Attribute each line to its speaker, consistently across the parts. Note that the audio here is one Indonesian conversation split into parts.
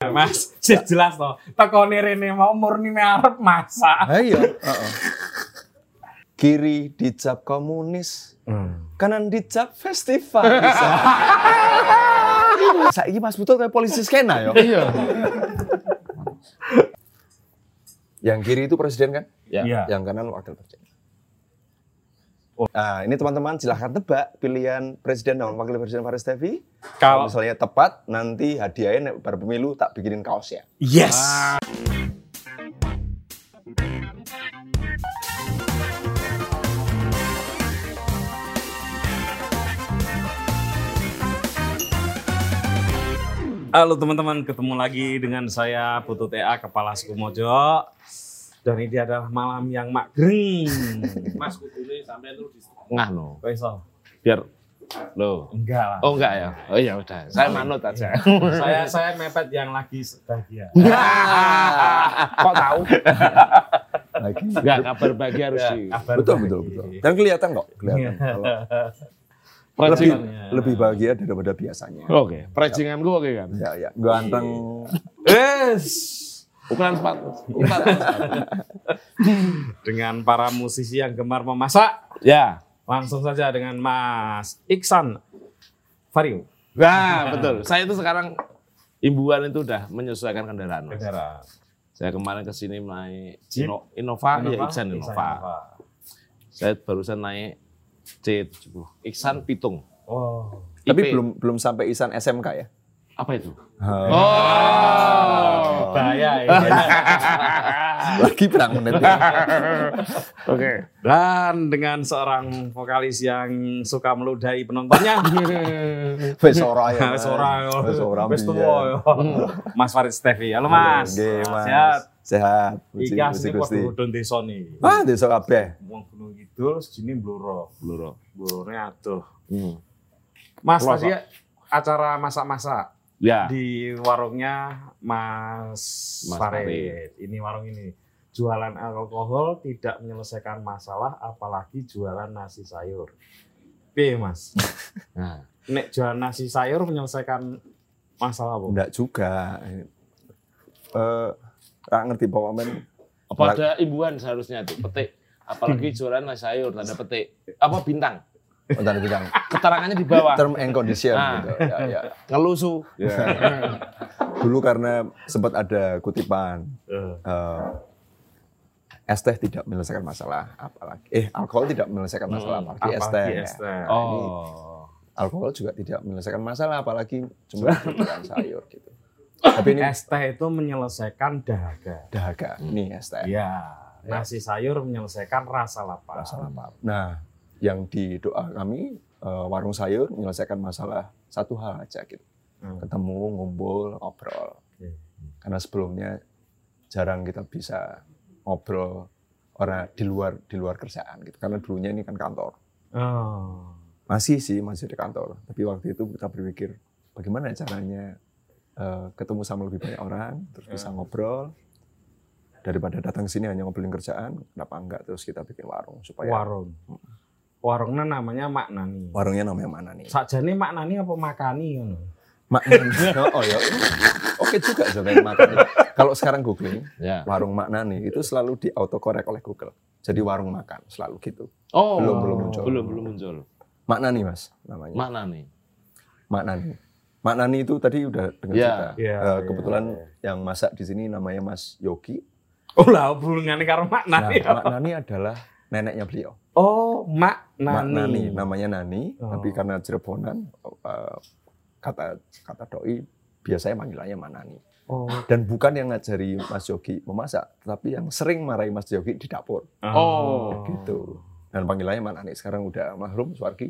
Speaker 1: Mas. Sih jelas toh. Tekone rene mau murni me arep masak.
Speaker 2: Ayo. heeh. Kiri dicap komunis, kanan dicap festival. Saiki Mas Butuh kayak polisi skena yo.
Speaker 3: Iya.
Speaker 2: Yang kiri itu presiden kan?
Speaker 3: Ya.
Speaker 1: Iya.
Speaker 2: Yang kanan wakil presiden. Nah, ini teman-teman silahkan tebak pilihan presiden dan wakil presiden Faris Tevi.
Speaker 1: Kalau
Speaker 2: Kalau misalnya tepat, nanti hadiahnya nek bar pemilu tak bikinin kaos ya.
Speaker 1: yes. Halo teman-teman, ketemu lagi dengan saya Putu TA Kepala Suku Mojo. Dan ini adalah malam yang magreng. Mas
Speaker 4: kudune sampean terus di
Speaker 3: Ngah no.
Speaker 1: kok iso?
Speaker 3: Biar lo.
Speaker 1: Enggak lah.
Speaker 3: Oh enggak ya. Oh ya udah. Saya manut aja.
Speaker 1: saya saya mepet yang lagi bahagia.
Speaker 3: Kok tahu?
Speaker 2: Lagi.
Speaker 3: Enggak kabar bahagia harus di.
Speaker 1: Kabar
Speaker 2: Betul,
Speaker 1: bahagia.
Speaker 2: betul, betul. Dan kelihatan kok, kelihatan.
Speaker 1: Iya.
Speaker 2: Kalau lebih,
Speaker 3: Perajingan.
Speaker 2: lebih bahagia daripada biasanya.
Speaker 1: Oh.
Speaker 3: Oke, perancingan gua oke kan.
Speaker 2: Ya, ya. Ganteng.
Speaker 1: Yes.
Speaker 3: Ukuran sepatu.
Speaker 1: Iya. Dengan para musisi yang gemar memasak,
Speaker 3: Ya.
Speaker 1: langsung saja dengan Mas Iksan Vario.
Speaker 3: Nah, betul. Saya itu sekarang imbuan itu udah menyesuaikan kendaraan. Mas.
Speaker 1: Negara.
Speaker 3: Saya kemarin ke sini naik
Speaker 1: Jeep?
Speaker 3: Ino- Innova, ya
Speaker 1: Innova?
Speaker 3: Iksan Innova.
Speaker 1: Innova.
Speaker 3: Saya barusan naik C70. Iksan Pitung.
Speaker 1: Oh.
Speaker 2: Tapi
Speaker 3: IP.
Speaker 2: belum belum sampai isan SMK ya.
Speaker 3: apa itu?
Speaker 1: Iya.
Speaker 2: Ha,
Speaker 3: Oh.
Speaker 1: Bahaya ini.
Speaker 2: Lagi berang menit. ya?
Speaker 3: Oke.
Speaker 1: Dan dengan seorang vokalis yang suka meludahi penontonnya.
Speaker 2: Wes ora ya.
Speaker 1: Wes ora yo.
Speaker 2: Wes ora.
Speaker 1: Wes
Speaker 2: mbiyen.
Speaker 1: tuwa yo. Mas Farid Stevi. Halo Mas.
Speaker 2: iya. Hmm. Nggih, Mas.
Speaker 1: Sehat.
Speaker 2: Sehat. Puji
Speaker 1: Iki
Speaker 2: puji
Speaker 1: asli
Speaker 2: Gusti.
Speaker 1: padha mudhun desa nih.
Speaker 2: Ah, desa kabeh.
Speaker 1: Wong Gunung Kidul sejine Blora.
Speaker 3: Bluro.
Speaker 1: Blorone aduh.
Speaker 3: Hmm.
Speaker 1: Mas
Speaker 3: Blora,
Speaker 1: tadi acara masak-masak
Speaker 3: Ya.
Speaker 1: di warungnya Mas,
Speaker 3: Mas
Speaker 1: Farid.
Speaker 3: Farid.
Speaker 1: Ini warung ini jualan alkohol tidak menyelesaikan masalah apalagi jualan nasi sayur. Piye Mas?
Speaker 3: Nah.
Speaker 1: Nek jualan nasi sayur menyelesaikan masalah apa?
Speaker 2: Enggak juga. Eh, ra ngerti pokoknya men.
Speaker 3: Apa ada imbuan seharusnya tuh petik.
Speaker 2: Hmm.
Speaker 3: Apalagi jualan nasi sayur tanda petik. Apa bintang?
Speaker 2: Oh, tadi bilang
Speaker 3: Keterangannya di bawah.
Speaker 2: term and condition
Speaker 3: Ah.
Speaker 2: gitu. Ya, ya.
Speaker 3: Ngelusu. Hmm.
Speaker 2: Dulu karena sempat ada kutipan
Speaker 1: Eh,
Speaker 2: eh, es teh tidak menyelesaikan masalah apalagi eh alkohol tidak menyelesaikan masalah apalagi, es
Speaker 1: Hmm,
Speaker 2: teh.
Speaker 1: apalagi es teh.
Speaker 3: Oh.
Speaker 2: Alkohol juga tidak menyelesaikan masalah apalagi cuma makan sayur gitu. Tapi ini
Speaker 1: Es Hmm. teh itu menyelesaikan dahaga.
Speaker 2: dahaga, ini es teh.
Speaker 1: Ya, nasi sayur menyelesaikan rasa lapar.
Speaker 2: Masalah apa? Nah, yang di doa kami eh, warung sayur menyelesaikan masalah satu hal aja gitu.
Speaker 1: Hmm. Iya.
Speaker 2: Ketemu, ngumpul, ngobrol.
Speaker 1: Oke.
Speaker 2: Karena sebelumnya jarang kita bisa ngobrol orang di luar di luar kerjaan gitu. Karena dulunya ini kan kantor.
Speaker 1: Oh.
Speaker 2: masih sih masih di kantor tapi waktu itu kita berpikir bagaimana caranya eh, ketemu sama lebih banyak orang terus
Speaker 3: Ya.
Speaker 2: bisa ngobrol daripada datang ke sini hanya ngobrolin kerjaan kenapa enggak terus kita bikin warung supaya
Speaker 1: warung. Warungnya namanya Maknani.
Speaker 2: warungnya namanya mana nih
Speaker 1: Sakjane Maknani apa Makani ngono?
Speaker 2: Maknani oh ya oke juga sebenarnya Maknani kalau sekarang googling
Speaker 3: Ya.
Speaker 2: warung Maknani itu selalu di autocorrect oleh Google jadi warung makan selalu gitu
Speaker 3: Oh.
Speaker 2: Belum, belum muncul.
Speaker 3: Belum belum muncul.
Speaker 2: Maknani mas namanya
Speaker 3: Mana nih?
Speaker 2: Maknani Maknani itu tadi udah dengar
Speaker 3: Ya.
Speaker 2: cerita
Speaker 1: Iya,
Speaker 2: Eh,
Speaker 1: iya,
Speaker 2: kebetulan
Speaker 1: iya.
Speaker 2: yang masak di sini namanya Mas Yogi.
Speaker 1: Oh lah hubungane karo
Speaker 2: Nah,
Speaker 1: Maknani.
Speaker 2: Mak Nani adalah neneknya beliau.
Speaker 1: Oh,
Speaker 2: Mak
Speaker 1: Maknani.
Speaker 2: Nani, namanya Nani,
Speaker 1: Oh.
Speaker 2: tapi karena Cirebonan eh, kata kata doi biasanya panggilannya Mak Nani.
Speaker 1: Oh.
Speaker 2: Dan bukan yang ngajari Mas Yogi memasak, tapi yang sering marahi Mas Yogi di dapur
Speaker 3: Oh.
Speaker 2: gitu. Dan panggilannya Mak Nani sekarang udah mahrum Suwargi.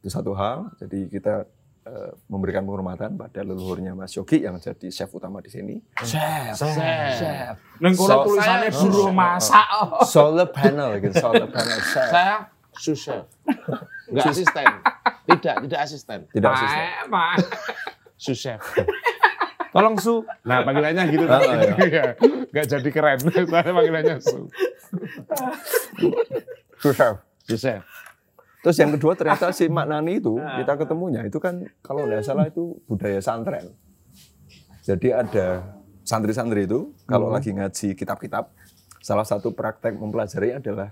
Speaker 2: Itu satu hal. Jadi kita eh, memberikan penghormatan pada leluhurnya Mas Yogi yang jadi chef utama di sini. Chef,
Speaker 1: Saya-
Speaker 2: chef.
Speaker 1: Neng kono
Speaker 2: So-
Speaker 1: tulisannya
Speaker 3: saya-
Speaker 1: buruh
Speaker 2: Oh.
Speaker 1: masak.
Speaker 2: solar panel gitu, solar panel chef.
Speaker 3: Saya susah. Enggak asisten. Tidak, tidak asisten.
Speaker 2: Tidak asisten.
Speaker 1: Pak, Pak.
Speaker 3: Su chef. Tolong su. Nah, panggilannya gitu.
Speaker 2: Ah, iya.
Speaker 3: Enggak jadi keren. Soalnya panggilannya su. Su chef.
Speaker 2: Terus yang kedua ternyata si Mak Nani itu kita ketemunya itu kan kalau nggak salah itu budaya santren. Jadi ada santri-santri itu kalau lagi ngaji kitab-kitab, salah satu praktek mempelajari adalah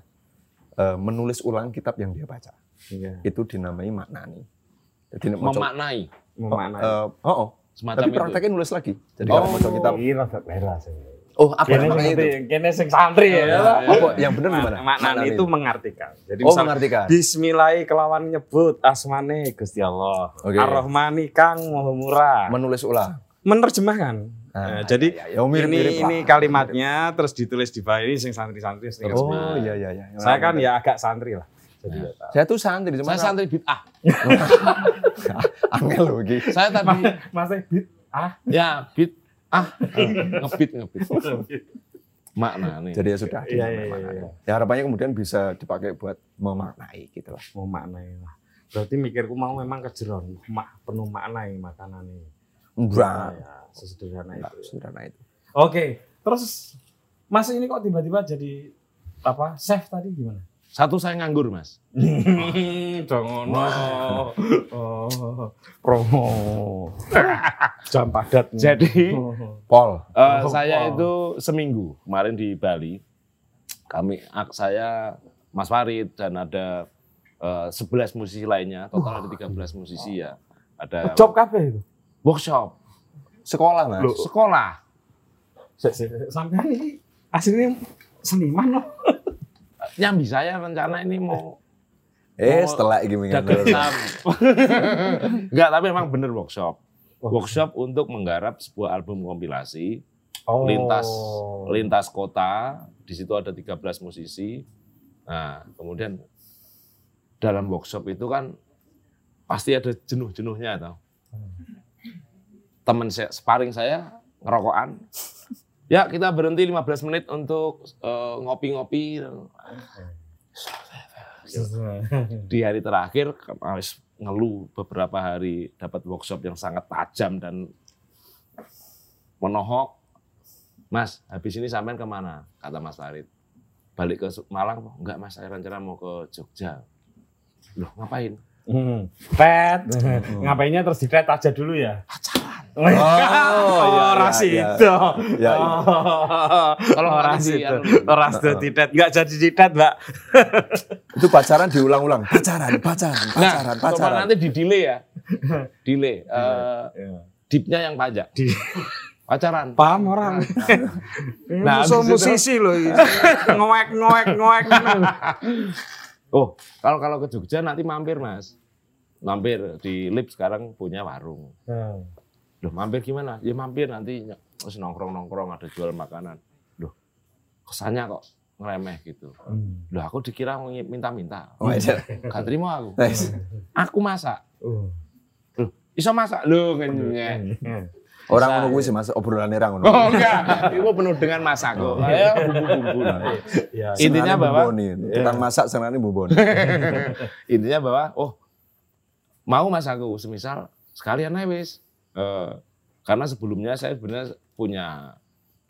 Speaker 2: eh, menulis ulang kitab yang dia baca.
Speaker 1: Iya.
Speaker 2: Itu dinamai maknani. Jadi nek moco-
Speaker 3: memaknai
Speaker 1: Memaknai.
Speaker 2: eh, oh, oh.
Speaker 3: semacam
Speaker 2: tapi
Speaker 3: itu.
Speaker 2: prakteknya nulis lagi. Jadi
Speaker 1: Oh.
Speaker 2: kalau moco kitab,
Speaker 4: Iya, rada lera sih.
Speaker 2: oh apa
Speaker 4: Kene
Speaker 2: maknanya
Speaker 4: sing
Speaker 2: itu? Oh, iya,
Speaker 4: kene sing santri ya.
Speaker 2: Apa yang benar
Speaker 1: Ma-
Speaker 2: gimana?
Speaker 1: Maknani itu mengartikan. Jadi
Speaker 2: oh
Speaker 1: misal
Speaker 2: mengartikan.
Speaker 1: Bismillahirrahmanirrahim kelawan nyebut asmane Gusti Allah.
Speaker 2: Oke.
Speaker 1: Ar-Rahmani Kang Maha Murah.
Speaker 2: Menulis ulang.
Speaker 1: Menerjemahkan.
Speaker 2: Ah,
Speaker 1: Nah, jadi
Speaker 2: ya, mirip-mirip
Speaker 1: ini
Speaker 2: lah.
Speaker 1: ini kalimatnya terus ditulis di file ini sing santri-santri sering
Speaker 2: Oh Nah.
Speaker 1: terjemah.
Speaker 2: iya iya iya.
Speaker 1: gitu. Saya kan ya agak santri lah. Jadi ya tahu.
Speaker 2: Saya tuh santri, cuma
Speaker 3: Saya santri bid'ah.
Speaker 2: angel loh gitu. Ki.
Speaker 3: Saya tadi
Speaker 1: Masih bit ah
Speaker 3: ya bid'ah ngebit ngebit. Maknani.
Speaker 2: Jadi ya sudah.
Speaker 1: Iya,
Speaker 2: dinamai
Speaker 1: iya, iya,
Speaker 2: maknani. Ya harapannya kemudian bisa dipakai buat memaknai gitu lah.
Speaker 1: mau maknai lah. Berarti mikirku mau memang kejeron, mak penuh maknai makanan ini.
Speaker 2: Enggak.
Speaker 1: Ya, sesederhana
Speaker 2: Enggak,
Speaker 1: itu.
Speaker 2: sederhana itu.
Speaker 1: Oke, terus Mas ini kok tiba-tiba jadi apa chef tadi gimana?
Speaker 3: Satu saya nganggur, Mas.
Speaker 1: Hmm, Dongono. Oh, promo. Jam padat.
Speaker 3: Jadi
Speaker 2: Pol.
Speaker 3: Eh,
Speaker 1: Oh,
Speaker 3: saya
Speaker 1: wow.
Speaker 3: itu seminggu kemarin di Bali. Kami ak- saya Mas Farid dan ada eh, 11 musisi lainnya, total ada 13 musisi ya. Ada
Speaker 1: job kabeh itu.
Speaker 3: workshop,
Speaker 2: Sekolah mas.
Speaker 3: sekolah.
Speaker 1: Sampai ini aslinya seniman loh.
Speaker 3: Nyambi saya rencana ini mau
Speaker 2: Eh
Speaker 3: Mau
Speaker 2: setelah gini
Speaker 1: Iya,
Speaker 3: dagang sam. Enggak, tapi memang bener workshop. Workshop untuk menggarap sebuah album kompilasi
Speaker 1: Oh.
Speaker 3: lintas lintas kota di situ ada 13 musisi nah kemudian dalam workshop itu kan pasti ada jenuh-jenuhnya atau teman saya sparring saya ngerokokan ya kita berhenti 15 menit untuk eh, ngopi-ngopi di hari terakhir kan harus ngeluh beberapa hari dapat workshop yang sangat tajam dan menohok. Mas, habis ini sampean kemana? Kata Mas Farid. Balik ke Su- Malang? apa? Enggak mas, saya rencana mau ke Jogja. Loh, ngapain?
Speaker 1: Hmm. Pet. Ngapainnya terus ditet aja dulu ya. Hmm. Pacaran.
Speaker 2: Oh,
Speaker 1: Oh,
Speaker 2: iya,
Speaker 1: oh
Speaker 2: iya,
Speaker 1: ras
Speaker 2: iya.
Speaker 1: itu.
Speaker 2: Ya, iya.
Speaker 1: Kalau
Speaker 3: Tolong
Speaker 1: ras
Speaker 3: nanti
Speaker 1: itu.
Speaker 3: anu.
Speaker 1: Ras itu ditet. Enggak jadi ditet, Mbak.
Speaker 2: Itu pacaran diulang-ulang. Pacaran, pacaran,
Speaker 1: Nah,
Speaker 2: pacaran,
Speaker 3: cuma
Speaker 2: pacaran.
Speaker 3: Nah, nanti di delay ya. delay. Eh,
Speaker 1: Iya.
Speaker 3: deepnya yang panjang.
Speaker 1: Di-
Speaker 3: Pacaran.
Speaker 1: paham orang.
Speaker 3: Nah,
Speaker 1: Nah, musuh
Speaker 3: habis itu-
Speaker 1: musisi loh. ini. Ngoek ngoek ngoek.
Speaker 3: Oh, kalau kalau ke Jogja nanti mampir mas. Mampir di Lip sekarang punya warung.
Speaker 1: Nah,
Speaker 3: Loh mampir gimana? Ya mampir nanti ny- terus nongkrong-nongkrong ada jual makanan. Loh kesannya kok ngeremeh gitu.
Speaker 1: hmm.
Speaker 3: Loh aku dikira mau ngi- minta-minta.
Speaker 2: Oh, iya.
Speaker 3: Gak terima aku.
Speaker 2: Nice.
Speaker 3: Aku masak. Iso masak? Loh ngenyek.
Speaker 2: Orang ngono kuwi sih mas obrolannya orang ngono.
Speaker 3: Oh enggak, itu penuh dengan masak kok. Ayo bumbu-bumbu.
Speaker 1: Iya.
Speaker 3: Intinya
Speaker 2: Senengane
Speaker 3: bahwa
Speaker 2: bumboni. Tukang masak senengane bumboni.
Speaker 3: intinya bahwa oh mau mas aku semisal sekalian aja wis Eh, karena sebelumnya saya sebenarnya punya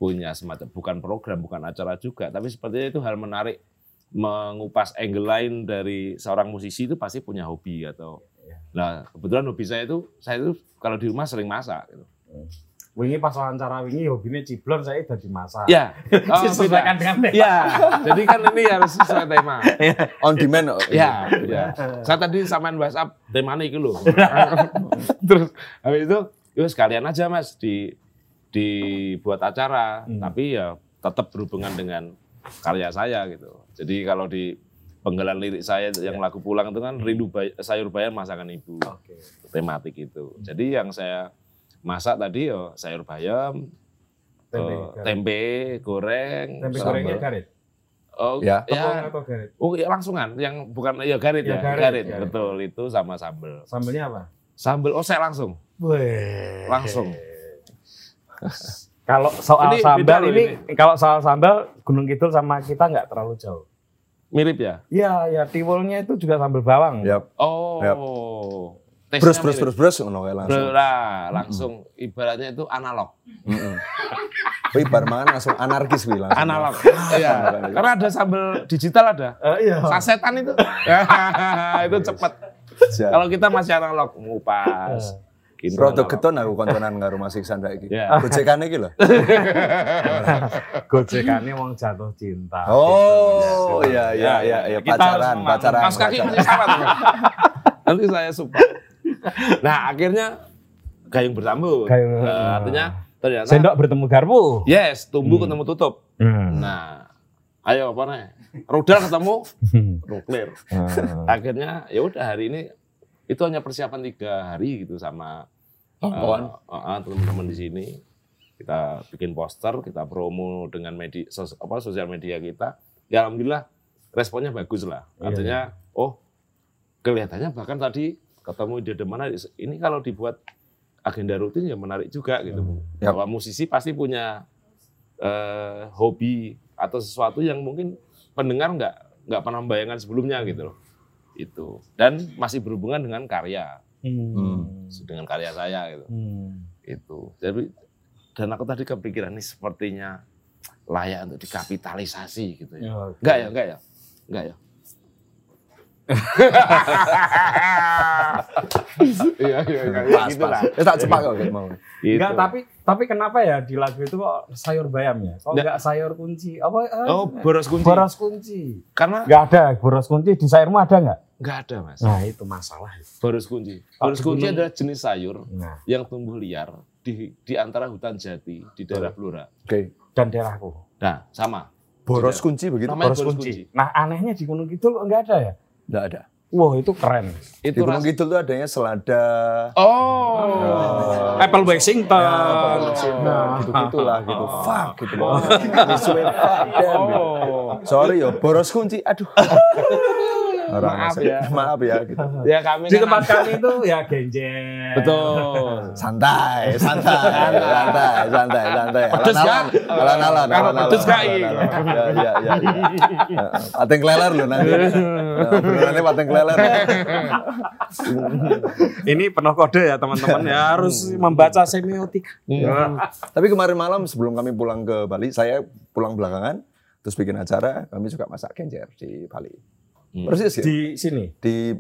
Speaker 3: punya semacam bukan program bukan acara juga tapi sepertinya itu hal menarik mengupas angle lain dari seorang musisi itu pasti punya hobi atau nah kebetulan hobi saya itu saya itu kalau di rumah sering masak gitu.
Speaker 1: Wingi pas wawancara wingi hobine ciblon saya dadi masak.
Speaker 3: ya oh,
Speaker 1: Iya. Disesuaikan
Speaker 3: beda.
Speaker 1: dengan tema.
Speaker 3: ya jadi kan ini harus sesuai tema
Speaker 2: On demand. oh,
Speaker 1: Iya.
Speaker 3: Ya, ya. Saya tadi samaan WhatsApp temanya itu loh. Terus habis itu, yuk sekalian aja mas di dibuat acara, tapi ya tetap berhubungan dengan karya saya gitu. Jadi kalau di penggalan lirik saya yang lagu pulang itu kan rindu bay- sayur bayam masakan ibu
Speaker 1: Oke.
Speaker 3: tematik itu. Jadi yang saya masak tadi ya sayur bayam,
Speaker 1: Tempe. ya.
Speaker 3: eh, tempe goreng,
Speaker 1: Tempe
Speaker 3: sambal.
Speaker 1: gorengnya garit.
Speaker 3: Oh,
Speaker 2: Ya.
Speaker 1: Tepung
Speaker 3: ya.
Speaker 1: atau garit?
Speaker 3: Oh, iya, langsungan yang bukan ya garit ya,
Speaker 1: Ya, garit,
Speaker 3: garit,
Speaker 1: garit.
Speaker 3: betul itu sama sambel.
Speaker 1: Sambelnya apa?
Speaker 3: Sambel oh saya langsung.
Speaker 1: Weh.
Speaker 3: Langsung.
Speaker 1: Kalau soal
Speaker 3: Ini beda
Speaker 1: sambal
Speaker 3: loh
Speaker 1: ini, kalau soal sambal Gunung Kidul sama kita nggak terlalu jauh.
Speaker 3: Mirip ya?
Speaker 1: Iya, ya tiwulnya itu juga sambal bawang.
Speaker 2: Ya.
Speaker 3: Oh.
Speaker 2: Yap.
Speaker 3: Tesnya
Speaker 2: Brus, brus,
Speaker 3: mirip.
Speaker 2: brus, brus ngono kae langsung.
Speaker 3: Brus, lah, langsung ibaratnya itu analog.
Speaker 2: Heeh. Kuwi bar mangan langsung anarkis kuwi langsung.
Speaker 3: Analog. Iya. Karena ada sambel digital ada.
Speaker 1: Eh, iya.
Speaker 3: Sasetan itu. itu cepat.
Speaker 2: Ja.
Speaker 3: Kalau kita masih analog, ngupas. Kinten
Speaker 2: Rodo
Speaker 3: apa-
Speaker 2: geton aku konconan karo Mas Iksan saiki.
Speaker 3: Ya.
Speaker 2: Gojekane iki lho.
Speaker 1: Gojekannya wong jatuh cinta.
Speaker 2: Oh, iya iya iya iya
Speaker 1: Kita harus
Speaker 2: pacaran,
Speaker 1: memang-
Speaker 2: pacaran.
Speaker 3: Kaos kaki
Speaker 2: pacaran.
Speaker 3: masih sama tuh. Nanti saya support. Nah akhirnya gayung bertambung.
Speaker 1: Gayung-
Speaker 3: Eh, artinya ternyata
Speaker 1: Sendok bertemu garpu.
Speaker 3: yes tumbuh ketemu tutup.
Speaker 1: Hmm.
Speaker 3: Nah ayo apa nih? Rudal ketemu
Speaker 1: Hmm.
Speaker 3: nuklir.
Speaker 2: Ah.
Speaker 3: Akhirnya ya udah hari ini itu hanya persiapan tiga hari gitu sama
Speaker 2: Oh,
Speaker 3: eh, eh, eh, teman-teman di sini kita bikin poster, kita promo dengan media sos- apa sosial media kita. Ya alhamdulillah responnya bagus lah.
Speaker 1: Iya,
Speaker 3: Artinya oh kelihatannya bahkan tadi ketemu di ada mana ini kalau dibuat agenda rutin ya menarik juga
Speaker 1: Hmm.
Speaker 3: gitu.
Speaker 2: Ya.
Speaker 3: Bahwa musisi pasti punya eh, hobi atau sesuatu yang mungkin pendengar nggak nggak pernah membayangkan sebelumnya gitu loh. Itu. Dan masih berhubungan dengan karya,
Speaker 1: Hmm.
Speaker 3: dengan karya saya gitu
Speaker 1: Hmm.
Speaker 3: itu jadi dan aku tadi kepikiran ini sepertinya layak untuk dikapitalisasi gitu ya enggak ya enggak ya enggak ya iya iya iya ya,
Speaker 2: Pas,
Speaker 3: gitu
Speaker 2: pas.
Speaker 3: lah
Speaker 2: Eh, tak cepak kok kayak mau.
Speaker 1: Enggak,
Speaker 3: Gitu.
Speaker 1: tapi tapi kenapa ya di lagu itu kok sayur bayam ya? Kok
Speaker 3: Nggak.
Speaker 1: enggak sayur kunci? Apa eh,
Speaker 3: oh boros kunci
Speaker 1: boros kunci?
Speaker 3: karena
Speaker 1: Enggak ada boros kunci di sayurmu ada enggak?
Speaker 3: enggak ada mas
Speaker 1: Nah, itu masalah.
Speaker 3: boros kunci
Speaker 1: Kalau
Speaker 3: boros kunci
Speaker 1: sebelum-
Speaker 3: adalah jenis sayur
Speaker 1: Nah,
Speaker 3: yang tumbuh liar di di antara hutan jati di daerah Blora
Speaker 2: Oke.
Speaker 1: dan daerahku.
Speaker 3: nah sama
Speaker 2: Boros kunci begitu.
Speaker 3: Namanya-
Speaker 1: Boros
Speaker 3: boros
Speaker 1: kunci.
Speaker 3: kunci.
Speaker 1: Nah, anehnya di Gunung Kidul kok enggak ada ya?
Speaker 2: Enggak ada.
Speaker 1: Wah, itu keren.
Speaker 2: Di
Speaker 3: itu
Speaker 2: Gunung
Speaker 3: ras-
Speaker 2: Kidul tuh adanya selada.
Speaker 3: oh
Speaker 1: Apple Washington.
Speaker 2: Nah, gitu-gitu lah gitu. Fuck gitu loh. Disuwe fuck damn, gitu.
Speaker 3: oh
Speaker 2: Sorry yo, boros kunci. Aduh. Orang
Speaker 3: Maaf
Speaker 2: asli.
Speaker 3: ya.
Speaker 2: Maaf ya gitu.
Speaker 3: ya kami
Speaker 1: Di
Speaker 3: kan
Speaker 1: tempat kami itu ya genjer.
Speaker 3: Betul.
Speaker 2: Santai, santai, santai, santai, santai.
Speaker 3: Pedes
Speaker 2: Alan-alan,
Speaker 3: nggak?
Speaker 2: alan-alan,
Speaker 3: Kalau
Speaker 2: alan-alan,
Speaker 3: pedes nggak, iya.
Speaker 2: alan-alan. Ya, ya, ya, ya. Ya, Pateng keleler loh nanti. Ya, Benerannya pateng keleler.
Speaker 1: Ini penuh kode ya teman-teman ya harus membaca semiotika.
Speaker 2: Tapi kemarin malam sebelum kami pulang ke Bali, saya pulang belakangan, terus bikin acara, kami juga masak genjer di Bali.
Speaker 3: Hmm.
Speaker 2: Persis ya?
Speaker 1: Di
Speaker 2: Di,
Speaker 1: sini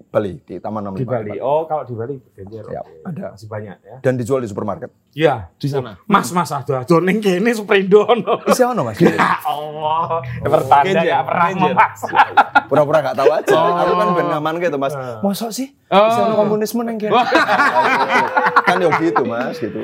Speaker 2: Bali, di Taman
Speaker 1: di
Speaker 2: 65.
Speaker 1: Bali. Oh, kalau di Bali genjer.
Speaker 2: Ya,
Speaker 1: oke.
Speaker 2: ada.
Speaker 1: Masih banyak ya.
Speaker 2: Dan dijual di supermarket.
Speaker 1: Iya.
Speaker 3: di sana.
Speaker 1: Mas Mas aduh aduh ning kene Suprindono.
Speaker 2: Isi ono mas?
Speaker 1: Ya Allah, pertanda
Speaker 3: Genjer,
Speaker 1: gak pernah
Speaker 3: genjer.
Speaker 1: memaksa.
Speaker 2: Pura-pura gak tahu aja.
Speaker 3: Oh.
Speaker 2: Aku kan ben ngaman gitu mas. Mosok sih? Isi ono komunisme neng kene. Kan ya gitu mas gitu.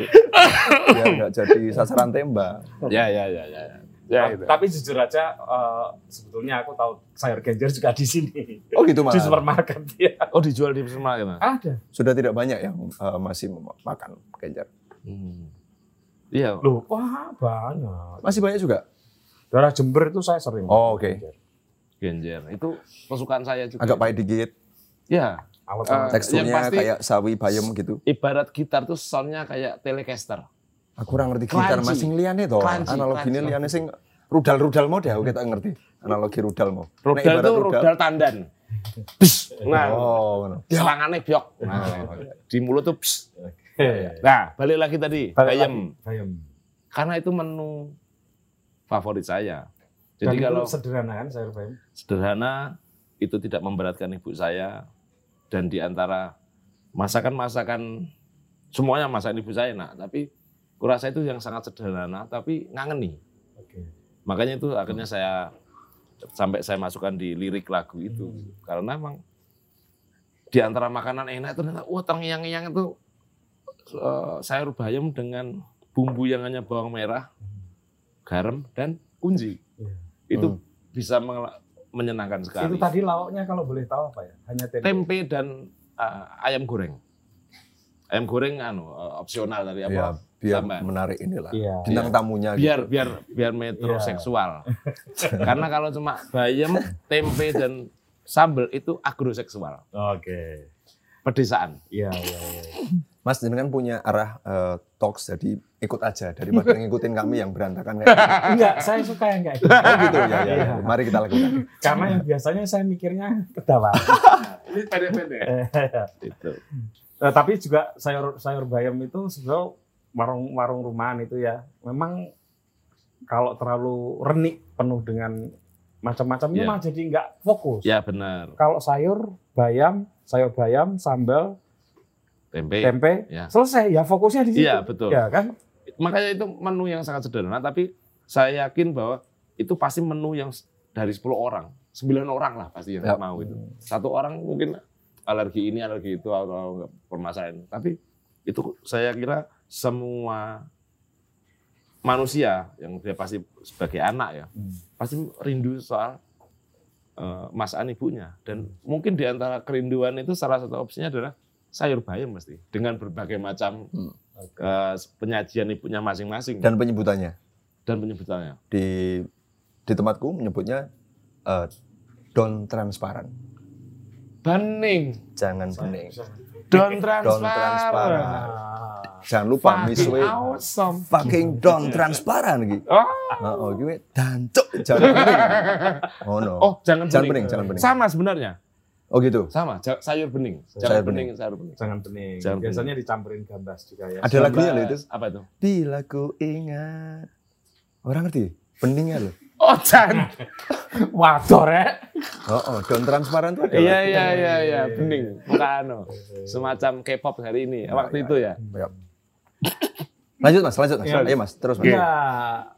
Speaker 2: Biar gak jadi sasaran tembak.
Speaker 1: Ah.
Speaker 3: Ya ya ya ya. Ya
Speaker 1: Ta- Tapi jujur aja eh, sebetulnya aku tahu sayur genjer juga di sini.
Speaker 2: Oh gitu mas.
Speaker 1: Di supermarket ya.
Speaker 3: Oh dijual di supermarket. Mas?
Speaker 1: Ada.
Speaker 2: Sudah tidak banyak yang eh, masih makan genjer.
Speaker 3: Hmm. Iya.
Speaker 1: Loh, wah banyak.
Speaker 2: Masih banyak juga?
Speaker 1: Daerah Jember itu saya sering.
Speaker 2: Oh oke.
Speaker 3: Genjer itu kesukaan saya juga.
Speaker 2: Agak pahit dikit.
Speaker 3: Ya.
Speaker 1: Awet
Speaker 2: Ah.
Speaker 3: Eh, yang
Speaker 2: Teksturnya
Speaker 3: pasti-
Speaker 2: kayak sawi bayam gitu.
Speaker 3: Ibarat gitar tuh soundnya kayak telecaster.
Speaker 2: Aku kurang ngerti gitar
Speaker 3: Crunchy.
Speaker 2: mas sing liyane to.
Speaker 3: Crunchy,
Speaker 2: Analogine
Speaker 3: crunchy.
Speaker 2: liyane sing rudal-rudal mau deh aku tak ngerti. Analogi rudal mau. Nek
Speaker 3: Rudal
Speaker 2: ibarat
Speaker 3: tuh rudal tandan. Bis. Nah,
Speaker 2: Oh, ngono.
Speaker 3: serangannya biok.
Speaker 1: Ah.
Speaker 3: Nah, di mulut tuh bis.
Speaker 1: Bayam.
Speaker 3: Nah, balik lagi tadi. Bayam.
Speaker 1: Iya, Bayam.
Speaker 3: Karena itu menu favorit saya.
Speaker 1: Dan
Speaker 3: Jadi
Speaker 1: itu
Speaker 3: kalau
Speaker 1: sederhana kan sayur bayam.
Speaker 3: sederhana itu tidak memberatkan ibu saya dan di antara masakan-masakan semuanya masakan ibu saya enak tapi kurasa itu yang sangat sederhana tapi ngangeni
Speaker 1: Oke.
Speaker 3: makanya itu
Speaker 1: Hmm.
Speaker 3: akhirnya saya sampai saya masukkan di lirik lagu itu
Speaker 1: Hmm.
Speaker 3: karena emang di antara makanan enak ternyata wah terngiang-ngiang itu eh, sayur bayam dengan bumbu yang hanya bawang merah garam dan kunci
Speaker 1: Hmm. Iya.
Speaker 3: itu bisa mengela- menyenangkan sekali
Speaker 1: Itu tadi lauknya kalau boleh tahu apa ya? Hanya tempe.
Speaker 3: tempe dan eh, ayam goreng ayam goreng anu eh, opsional dari apa
Speaker 2: Ya, biar
Speaker 3: Sambal.
Speaker 2: menarik inilah.
Speaker 1: Iya.
Speaker 2: Bintang tamunya gitu.
Speaker 3: biar biar biar metroseksual. Karena kalau cuma bayam, tempe dan sambel itu agroseksual,
Speaker 1: Oke.
Speaker 3: pedesaan.
Speaker 1: Iya, iya, iya.
Speaker 2: Mas jenengan punya arah eh, talks jadi ikut aja daripada ngikutin kami yang berantakan kayak gitu.
Speaker 1: Enggak, saya suka yang kayak gitu.
Speaker 2: Oh gitu ya, ya,
Speaker 3: Iya.
Speaker 2: ya. Mari kita lakukan.
Speaker 1: Karena yang biasanya saya mikirnya ketawa.
Speaker 3: Itu.
Speaker 1: Eh, tapi juga sayur sayur bayam itu sebenarnya warung-warung rumahan itu ya memang kalau terlalu renik penuh dengan macam-macamnya
Speaker 3: Iya.
Speaker 1: malah jadi nggak fokus.
Speaker 3: Ya benar.
Speaker 1: Kalau sayur bayam, sayur bayam, sambal,
Speaker 3: tempe.
Speaker 1: tempe,
Speaker 3: Ya.
Speaker 1: selesai ya fokusnya di situ.
Speaker 3: Iya, betul.
Speaker 1: Ya kan?
Speaker 3: Makanya itu menu yang sangat sederhana tapi saya yakin bahwa itu pasti menu yang s- dari 10 orang, 9 orang lah pasti yang
Speaker 2: Ya.
Speaker 3: mau itu. Satu orang mungkin alergi ini, alergi itu atau permasalahan. Tapi itu saya kira semua manusia yang dia pasti sebagai anak ya,
Speaker 2: Hmm.
Speaker 3: pasti rindu soal eh, masakan ibunya dan mungkin di antara kerinduan itu salah satu opsinya adalah sayur bayam pasti dengan berbagai macam
Speaker 2: Hmm.
Speaker 3: eh, penyajian ibunya masing-masing
Speaker 2: Dan
Speaker 3: dan,
Speaker 2: penyebutannya
Speaker 3: penyebutannya
Speaker 2: di di tempatku menyebutnya eh, don transparan,
Speaker 3: bening
Speaker 2: jangan bening,
Speaker 3: don
Speaker 2: don
Speaker 3: transparan
Speaker 2: transparan.
Speaker 1: Nah,
Speaker 2: Jangan lupa miswe
Speaker 3: Fucking awesome
Speaker 2: fucking don transparan gitu.
Speaker 3: Ah.
Speaker 2: Oh, gue dancuk jangan bening. Oh no.
Speaker 3: oh
Speaker 2: jangan
Speaker 3: jangan, bening.
Speaker 2: bening, jangan bening.
Speaker 3: sama sebenarnya
Speaker 2: Oh gitu.
Speaker 3: sama ja- sayur bening
Speaker 2: Sayur
Speaker 3: jangan
Speaker 2: bening.
Speaker 3: bening, sayur bening
Speaker 1: Jangan bening.
Speaker 3: Jangan
Speaker 1: Biasanya dicampurin gambas juga ya.
Speaker 2: Ada lagunya loh itu.
Speaker 3: apa itu
Speaker 2: Bila ku ingat. Orang ngerti? Beningnya loh.
Speaker 3: oh jangan
Speaker 4: Wador ya.
Speaker 2: Oh, oh, don transparan tuh ada.
Speaker 3: Iya
Speaker 2: lagu.
Speaker 3: iya iya iya bening. Bukan anu. Semacam K-pop hari ini waktu itu ya.
Speaker 2: Yap. Lanjut Mas, lanjut Mas.
Speaker 1: Iya.
Speaker 2: Ayo Mas, terus Mas.
Speaker 1: Iya.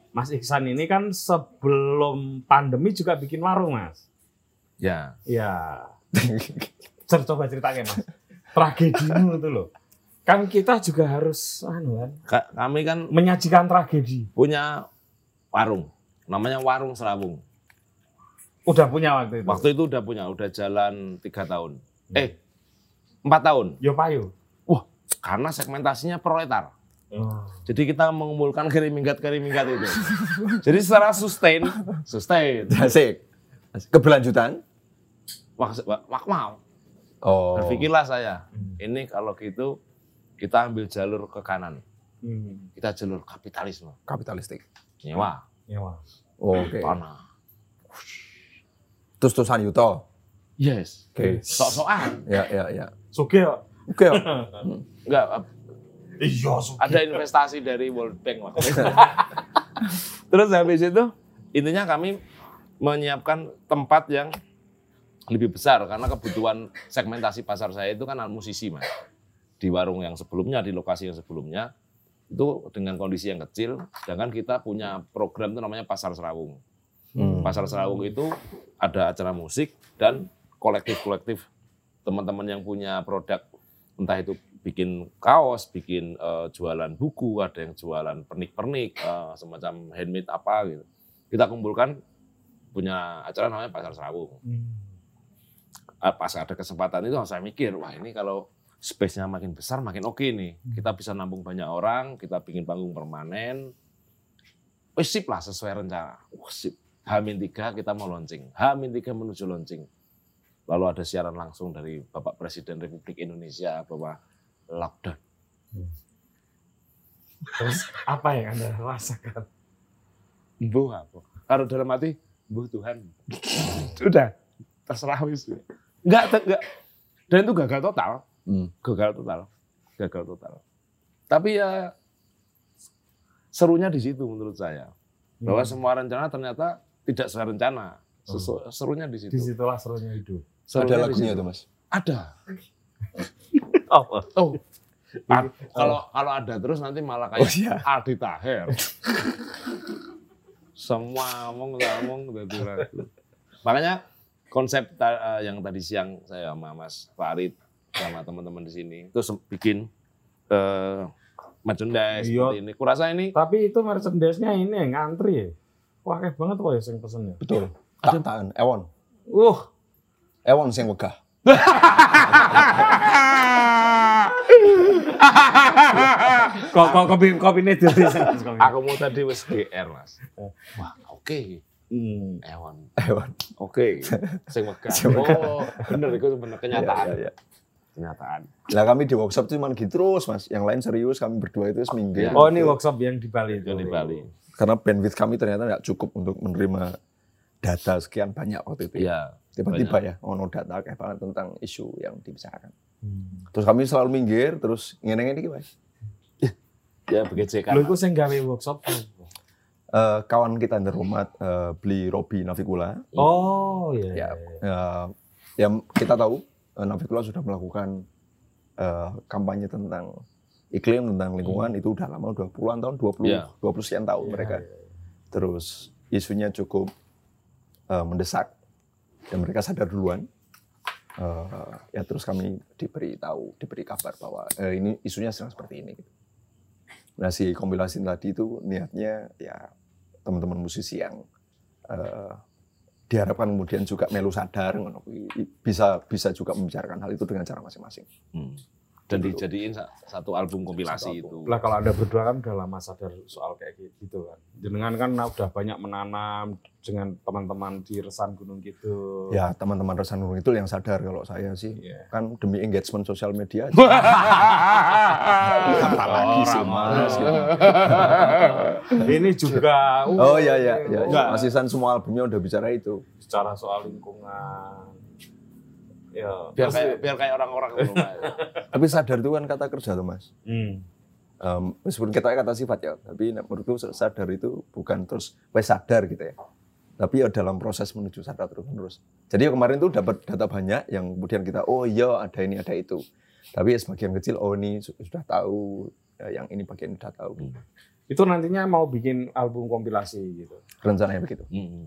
Speaker 1: Mas Iksan ini kan sebelum pandemi juga bikin warung, Mas.
Speaker 3: Ya.
Speaker 1: Ya. Cer, coba ceritain, Mas. Tragedimu itu loh. Kan kita juga harus anu kan,
Speaker 3: Ka- Kami kan
Speaker 1: menyajikan tragedi.
Speaker 3: punya warung. Namanya Warung Selawung.
Speaker 1: Udah punya waktu itu.
Speaker 3: Waktu itu udah punya, udah jalan tiga tahun. Eh, empat tahun.
Speaker 1: Yo payu.
Speaker 3: Karena segmentasinya proletar. Jadi kita mengumpulkan kerimingkat-kerimingkat itu. Jadi secara sustain, sustain.
Speaker 2: Asik. Keberlanjutan.
Speaker 3: Wah, wah- wah, mau.
Speaker 2: Oh.
Speaker 3: Berpikirlah saya.
Speaker 1: Hmm.
Speaker 3: Ini kalau gitu kita ambil jalur ke kanan.
Speaker 1: Hmm.
Speaker 3: Kita jalur kapitalisme.
Speaker 2: kapitalistik. Oh,
Speaker 3: Nyewa,
Speaker 1: Ya, Mas.
Speaker 2: Oke.
Speaker 3: tanah.
Speaker 2: Terus-terusan Yuto.
Speaker 3: Yes.
Speaker 2: Oke.
Speaker 3: Sok-sokan.
Speaker 2: Ya, ya, ya.
Speaker 1: Sugih kok.
Speaker 2: Oke. ya. yuk.
Speaker 3: Enggak,
Speaker 1: Iya, sugih.
Speaker 3: ada investasi dari World Bank waktu itu. Terus habis itu intinya kami menyiapkan tempat yang lebih besar karena kebutuhan segmentasi pasar saya itu kan musisi mas di warung yang sebelumnya di lokasi yang sebelumnya itu dengan kondisi yang kecil sedangkan kita punya program itu namanya pasar serawung
Speaker 2: Hmm.
Speaker 3: pasar serawung itu ada acara musik dan kolektif kolektif teman-teman yang punya produk entah itu bikin kaos, bikin eh, jualan buku, ada yang jualan pernik-pernik, eh, semacam handmade apa gitu. Kita kumpulkan punya acara namanya Pasar Serawung.
Speaker 1: Hmm.
Speaker 3: Ah, Pas ada kesempatan itu saya mikir, wah ini kalau space-nya makin besar makin oke nih. Kita bisa nampung banyak orang, kita bikin panggung permanen. Wis sip lah sesuai rencana. Wah sip. H-3 kita mau launching. H-3 menuju launching. Lalu ada siaran langsung dari Bapak Presiden Republik Indonesia bahwa lockdown.
Speaker 1: Terus apa yang Anda rasakan?
Speaker 3: Mbuh apa? Kalau dalam hati, mbuh Tuhan. Udah, terserah wis. Enggak, te- enggak. Dan itu gagal total.
Speaker 2: Hmm.
Speaker 3: Gagal total. Gagal total. Tapi ya serunya di situ menurut saya. Bahwa
Speaker 1: Hmm.
Speaker 3: semua rencana ternyata tidak sesuai rencana. Sesu- Serunya Hmm. di situ.
Speaker 1: Disitulah serunya hidup.
Speaker 3: Serunya di
Speaker 2: Ada lagunya
Speaker 3: situ.
Speaker 2: tuh Mas.
Speaker 3: Ada.
Speaker 1: Apa?
Speaker 3: Oh. Ad- kalau kalau ada terus nanti malah kayak
Speaker 2: Oh, iya.
Speaker 3: Aldi Taher. Semua omong ngomong jadi ragu. Makanya konsep ta- eh, yang tadi siang saya sama Mas Farid sama teman-teman di sini itu sem- bikin eh merchandise
Speaker 1: Iya.
Speaker 3: seperti ini. Kurasa ini
Speaker 1: Tapi itu merchandise-nya ini yang ngantri ya. Wah, kayak banget kok ya yang pesen ya.
Speaker 2: Betul. Tak tahan. Ewon.
Speaker 1: Uh,
Speaker 2: Ewon sing wegah.
Speaker 1: kok kok kopi kopi ini dulu.
Speaker 3: aku mau tadi wis GR, Mas.
Speaker 2: Oh,
Speaker 3: Wah, oke.
Speaker 1: Hmm.
Speaker 3: Ewan.
Speaker 2: Ewon.
Speaker 3: Oke. Sing megah.
Speaker 2: Sing megah.
Speaker 3: Oh, bener itu bener kenyataan.
Speaker 2: Iya, iya, iya.
Speaker 3: Kenyataan.
Speaker 2: Lah kami di workshop tuh cuma gitu terus Mas. Yang lain serius kami berdua itu seminggu.
Speaker 3: Iya.
Speaker 1: Oh, ini workshop yang di
Speaker 2: Iya,
Speaker 1: Bali itu.
Speaker 3: Yang di Bali.
Speaker 2: Karena bandwidth kami ternyata nggak cukup untuk menerima data sekian banyak waktu itu.
Speaker 3: Iya.
Speaker 2: Tiba-tiba ya, ono data kayak banget tentang isu yang dibicarakan.
Speaker 1: Hmm.
Speaker 2: Terus kami selalu minggir, terus ngene-ngene iki, Mas.
Speaker 3: Ya BGJK.
Speaker 1: Lho, iku sing gawe workshop.
Speaker 2: Eh, kawan kita di rumah eh, beli Robi Navicula.
Speaker 1: Oh, iya.
Speaker 2: Ya, eh, yang kita tahu eh, Navicula sudah melakukan eh, kampanye tentang iklim tentang lingkungan itu udah lama udah puluhan tahun 20
Speaker 3: Iya.
Speaker 2: 20 sekian tahun mereka terus isunya cukup eh, mendesak dan mereka sadar duluan Eh, ya terus kami diberi tahu diberi kabar bahwa eh, ini isunya sedang seperti ini gitu. nah si kompilasi tadi itu niatnya ya teman-teman musisi yang eh, diharapkan kemudian juga melu sadar ngono kuwi. bisa bisa juga membicarakan hal itu dengan cara masing-masing
Speaker 3: Hmm. Dan dijadiin sa- satu album kompilasi
Speaker 2: Satu
Speaker 1: Lah kalau Anda berdua kan udah lama sadar soal kayak gitu kan. Jenengan kan udah banyak menanam dengan teman-teman di Resan Gunung Kidul.
Speaker 2: ya teman-teman resan Gunung itu yang sadar kalau saya sih
Speaker 1: Iya.
Speaker 2: kan demi engagement sosial media aja.
Speaker 3: itu.
Speaker 2: apalagi sih
Speaker 3: Orang,
Speaker 2: mas
Speaker 3: orang.
Speaker 2: gitu.
Speaker 1: Nah, Ini juga
Speaker 2: Oh
Speaker 1: uh,
Speaker 2: iya iya, iya.
Speaker 1: Enggak.
Speaker 2: Mas Isan semua albumnya udah bicara itu.
Speaker 1: secara soal lingkungan. Ya.
Speaker 3: biar
Speaker 1: terus-
Speaker 3: kayak biar kayak orang-orang ya. dulu, Mas.
Speaker 2: Tapi sadar itu kan kata kerja tuh mas.
Speaker 1: Hmm.
Speaker 2: Em, meskipun kita kata sifat ya, tapi nek menurutku sadar itu bukan terus wes sadar gitu ya. Tapi ya dalam proses menuju sadar terus menerus. Jadi ya kemarin tuh dapat data banyak yang kemudian kita oh iya ada ini ada itu. Tapi ya sebagian kecil oh ini su- sudah tahu eh, yang ini bagian ini sudah tahu.
Speaker 1: Itu nantinya mau bikin album kompilasi gitu.
Speaker 2: Rencananya begitu.
Speaker 3: Mm-mm. Hmm.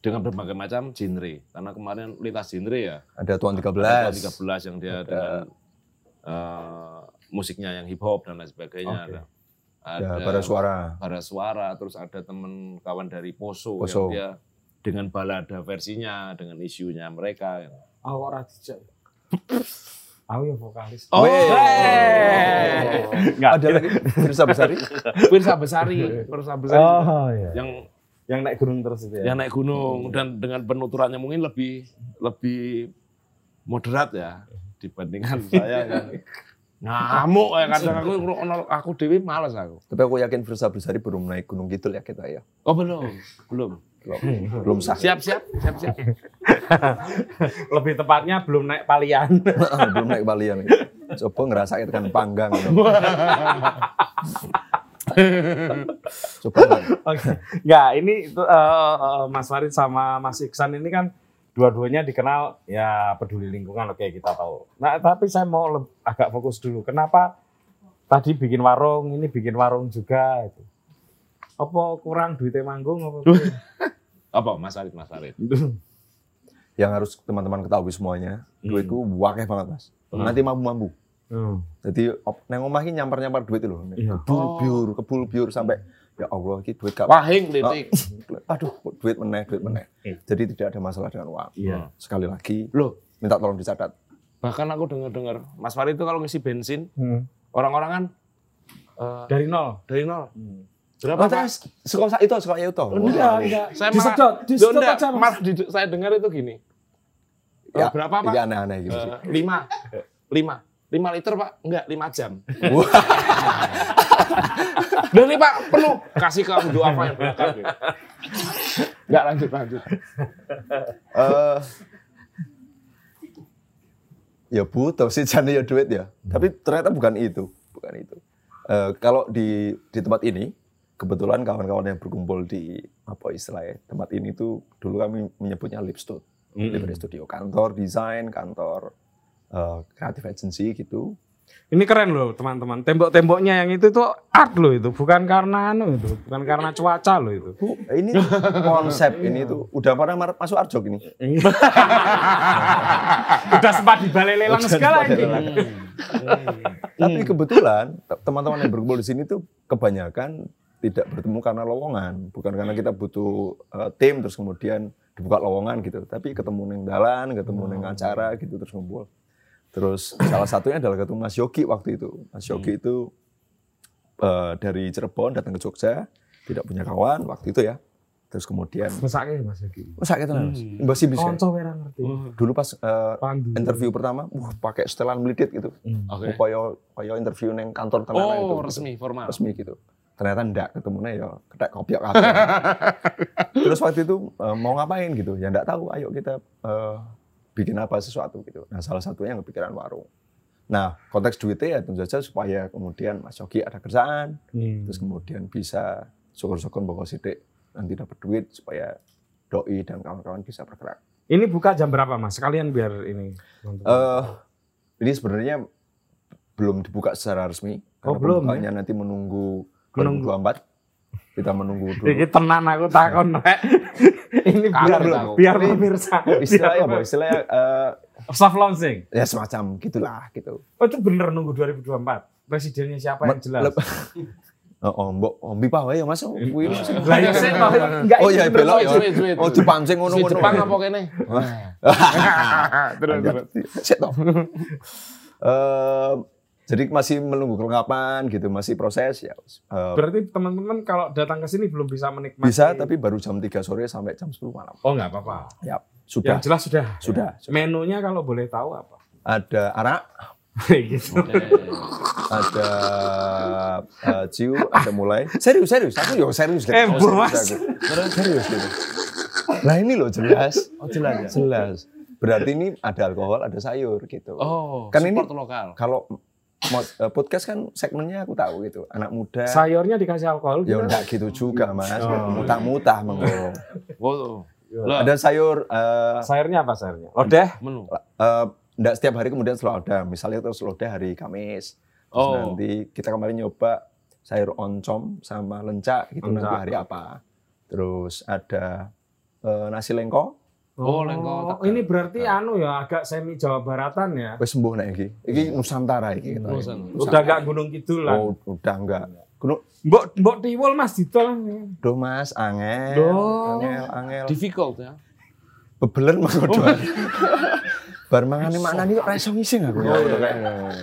Speaker 3: Dengan berbagai macam genre. Karena kemarin lintas genre ya.
Speaker 2: Ada tuan 13.
Speaker 3: Ada 13 yang dia
Speaker 2: Ada-
Speaker 3: dengan eh, musiknya yang hip hop dan lain sebagainya.
Speaker 1: Oke.
Speaker 3: Ada,
Speaker 2: ada
Speaker 3: ada
Speaker 2: pada Ya, suara.
Speaker 3: Bara Suara, terus ada temen kawan dari Poso,
Speaker 2: Poso.
Speaker 3: yang dia dengan balada versinya, dengan isunya mereka.
Speaker 1: Aku ora dijak. Aku ya vokalis.
Speaker 3: Oh,
Speaker 2: Weh.
Speaker 3: hey.
Speaker 1: Enggak.
Speaker 2: Ada lagi Firsa Besari.
Speaker 3: Pirsa Besari, Pirsa Besari
Speaker 1: iya.
Speaker 3: yang
Speaker 1: Yang naik gunung terus itu ya.
Speaker 3: yang naik gunung dan dengan penuturannya mungkin lebih lebih moderat ya dibandingkan saya ya. yang ngamuk ya kadang aku ngerokok- aku dewi males aku.
Speaker 2: Tapi aku yakin Firsa Besari belum naik Gunung Kidul ya kita ya.
Speaker 3: Oh belum, belum.
Speaker 2: Belum, belum sah.
Speaker 3: Siap siap, siap siap.
Speaker 1: Lebih tepatnya belum naik palian.
Speaker 2: belum naik balian. Coba ngerasain kan panggang. Coba
Speaker 1: Oke. Nggak, ini itu, eh, eh, Mas Farid sama Mas Iksan ini kan dua-duanya dikenal ya peduli lingkungan oke kita tahu. Nah, tapi saya mau leb- agak fokus dulu. Kenapa tadi bikin warung, ini bikin warung juga itu. Apa kurang duitnya manggung apa?
Speaker 3: Apa Mas Arif Mas Arif?
Speaker 2: yang harus teman-teman ketahui semuanya, duitku wakeh banget mas. Nanti mambu-mambu.
Speaker 1: Hmm.
Speaker 2: Jadi op- neng omah ini nyampar-nyampar duit loh.
Speaker 1: Iya.
Speaker 2: Kebul biur, kebul biur sampai ya Allah ini duit gak Nah,
Speaker 3: Wahing titik.
Speaker 2: Aduh, duit meneh, duit meneh. Jadi tidak ada masalah dengan uang.
Speaker 1: Iya.
Speaker 2: Sekali lagi,
Speaker 3: Loh,
Speaker 2: minta tolong dicatat.
Speaker 3: bahkan Nah, kan aku dengar-dengar Mas Farid itu kalau ngisi bensin
Speaker 1: Hmm.
Speaker 3: orang-orang kan eh,
Speaker 1: Dari nol.
Speaker 3: dari nol.
Speaker 2: Oh,
Speaker 3: Berapa Pak?
Speaker 2: terus sekolah itu sekolah itu.
Speaker 1: Enggak, enggak.
Speaker 3: Saya malah-
Speaker 1: disedot,
Speaker 3: Loh,
Speaker 1: disedot
Speaker 3: enggak,
Speaker 1: aja. Mas.
Speaker 3: Mas, di- saya dengar itu gini. Eh,
Speaker 1: Ya.
Speaker 3: berapa
Speaker 2: Ini
Speaker 3: Pak?
Speaker 2: iya. aneh-aneh gitu.
Speaker 3: Eh, lima, lima, lima liter Pak? Enggak, lima jam.
Speaker 2: Wah,
Speaker 3: Dan ini Pak penuh. Kasih ke Abdul apa yang belakang. gitu. Enggak lanjut lanjut.
Speaker 2: eh, ya butuh sih jane ya duit ya.
Speaker 3: Hmm.
Speaker 2: Tapi ternyata bukan itu, bukan itu. Eh, kalau di di tempat ini kebetulan kawan-kawan yang berkumpul di apa istilahnya tempat ini tuh dulu kami menyebutnya Lipstud.
Speaker 3: Hmm.
Speaker 2: Library Studio, kantor desain, kantor eh, kreatif agency gitu.
Speaker 1: Ini keren loh teman-teman. Tembok-temboknya yang itu tuh art loh itu, bukan karena anu itu, bukan karena cuaca loh itu.
Speaker 2: Bu, ini konsep ini tuh udah pernah mar- masuk Arjok ini.
Speaker 1: Udah sempat di balai lelang
Speaker 2: Udah
Speaker 1: segala
Speaker 2: sempat
Speaker 1: ini.
Speaker 2: lelang. Tapi kebetulan te- teman-teman yang berkumpul di sini tuh kebanyakan tidak bertemu karena lowongan, bukan karena kita butuh eh, tim terus kemudian dibuka lowongan gitu. Tapi ketemu neng dalan, ketemu neng acara gitu terus ngumpul. Terus salah satunya adalah ketemu Mas Yogi waktu itu. Mas Yogi itu eh, dari Cirebon datang ke Jogja, tidak punya kawan waktu itu ya. Terus kemudian
Speaker 1: Mesake Mas Yogi.
Speaker 2: Oh, sakit tenan, Mas. Mbak Sibis ya?
Speaker 1: Konco merah ngerti.
Speaker 2: Dulu pas eh,
Speaker 1: Pandu. Hmm.
Speaker 2: interview pertama, wah pakai setelan melidit gitu.
Speaker 3: Oke.
Speaker 2: Upaya upaya interview neng kantor tenan itu.
Speaker 3: Oh
Speaker 2: gitu.
Speaker 3: resmi formal.
Speaker 2: Resmi gitu. Ternyata ndak ketemunya ya kedek kopi kabeh. Terus waktu itu eh, mau ngapain gitu, ya ndak tahu, ayo kita eh, bikin apa sesuatu gitu. Nah, salah satunya yang kepikiran warung. Nah, konteks duitnya ya tentu saja supaya kemudian Mas Yogi ada kerjaan,
Speaker 1: Hmm.
Speaker 2: terus kemudian bisa syukur-syukur bawa sidik nanti dapat duit supaya doi dan kawan-kawan bisa bergerak.
Speaker 1: Ini buka jam berapa Mas? Sekalian biar ini.
Speaker 2: Eh, ini sebenarnya belum dibuka secara resmi.
Speaker 1: Oh,
Speaker 2: Karena
Speaker 1: belum,
Speaker 2: pembukanya nanti menunggu
Speaker 1: Menunggu.
Speaker 2: 2024. Kita menunggu dulu.
Speaker 1: Jadi tenan aku
Speaker 2: Ya.
Speaker 1: takon rek. Ini biar
Speaker 3: Kangen aku.
Speaker 1: biar pemirsa.
Speaker 2: Istilahnya apa?
Speaker 1: biar-
Speaker 2: Istilahnya eh,
Speaker 1: Soft launching.
Speaker 2: ya semacam gitulah gitu.
Speaker 1: Oh itu bener nunggu 2024. Presidennya siapa yang
Speaker 2: Me-
Speaker 1: jelas?
Speaker 2: lep- Oh, oh, mbok ombi pawe ya Mas. Kuwi, Mas.
Speaker 1: Lah iya sih, toh. Enggak,
Speaker 2: Oh
Speaker 1: ini
Speaker 2: ya
Speaker 1: bener.
Speaker 2: belok ya.
Speaker 3: Sweet,
Speaker 1: iya,
Speaker 3: sweet,
Speaker 2: Oh
Speaker 3: sweet.
Speaker 2: Jepang sing ngono-ngono. Iya,
Speaker 3: Sweet Jepang apa kene?
Speaker 1: Iya,
Speaker 2: Terus Sik toh. Iya, Eh, jadi masih menunggu kelengkapan gitu, masih proses ya. Eh,
Speaker 1: Berarti teman-teman kalau datang ke sini belum bisa menikmati.
Speaker 2: bisa tapi baru jam 3 sore sampai jam 10 malam.
Speaker 1: Oh nggak apa-apa. Yang
Speaker 2: Ya, sudah.
Speaker 1: jelas sudah.
Speaker 2: Sudah.
Speaker 1: Menunya kalau boleh tahu apa?
Speaker 2: Ada arak,
Speaker 1: gitu.
Speaker 2: ada eh, ciu, ada mulai. Serius, serius. Aku yo serius gitu.
Speaker 1: Eh,
Speaker 2: Oh,
Speaker 1: Bos.
Speaker 2: serius aku. Terus serius gitu. Nah, ini loh jelas. Oh, jelas. Jelas. Berarti ini ada alkohol, ada sayur gitu.
Speaker 3: Oh,
Speaker 2: Kan ini-
Speaker 3: support lokal.
Speaker 2: Kalau mod- eh, podcast kan segmennya aku tahu gitu. Anak muda.
Speaker 1: Sayurnya dikasih alkohol
Speaker 2: Ya
Speaker 1: gitu.
Speaker 2: enggak gitu juga, Mas.
Speaker 1: Oh.
Speaker 2: Mutah-mutah mengko.
Speaker 3: Oh, Lah,
Speaker 2: Ada sayur eh,
Speaker 1: Sayurnya apa sayurnya? Lodeh.
Speaker 3: menu.
Speaker 2: eh, enggak setiap hari kemudian selalu ada. Misalnya terus selalu ada hari Kamis. Terus
Speaker 3: Oh.
Speaker 2: nanti kita kemarin nyoba sayur oncom sama lencak gitu nanti
Speaker 1: Lencak.
Speaker 2: hari apa. Terus ada eh, nasi lengko.
Speaker 3: Oh, lengkong.
Speaker 1: ini berarti anu ya agak semi Jawa Baratan ya.
Speaker 2: Wis sembuh nek iki. Iki Nusantara iki kita.
Speaker 3: Nusan.
Speaker 1: Udah gak Gunung Kidul lah.
Speaker 2: Oh, udah enggak. Gunung
Speaker 1: Mbok mbok tiwul Mas Dito lah.
Speaker 2: Duh Mas, angel.
Speaker 1: Duh.
Speaker 2: Angel, angel.
Speaker 3: Difficult ya.
Speaker 2: bebeler mah kok doang. Bar mangane maknane kok ra iso ngising aku. Ya, gitu kayak.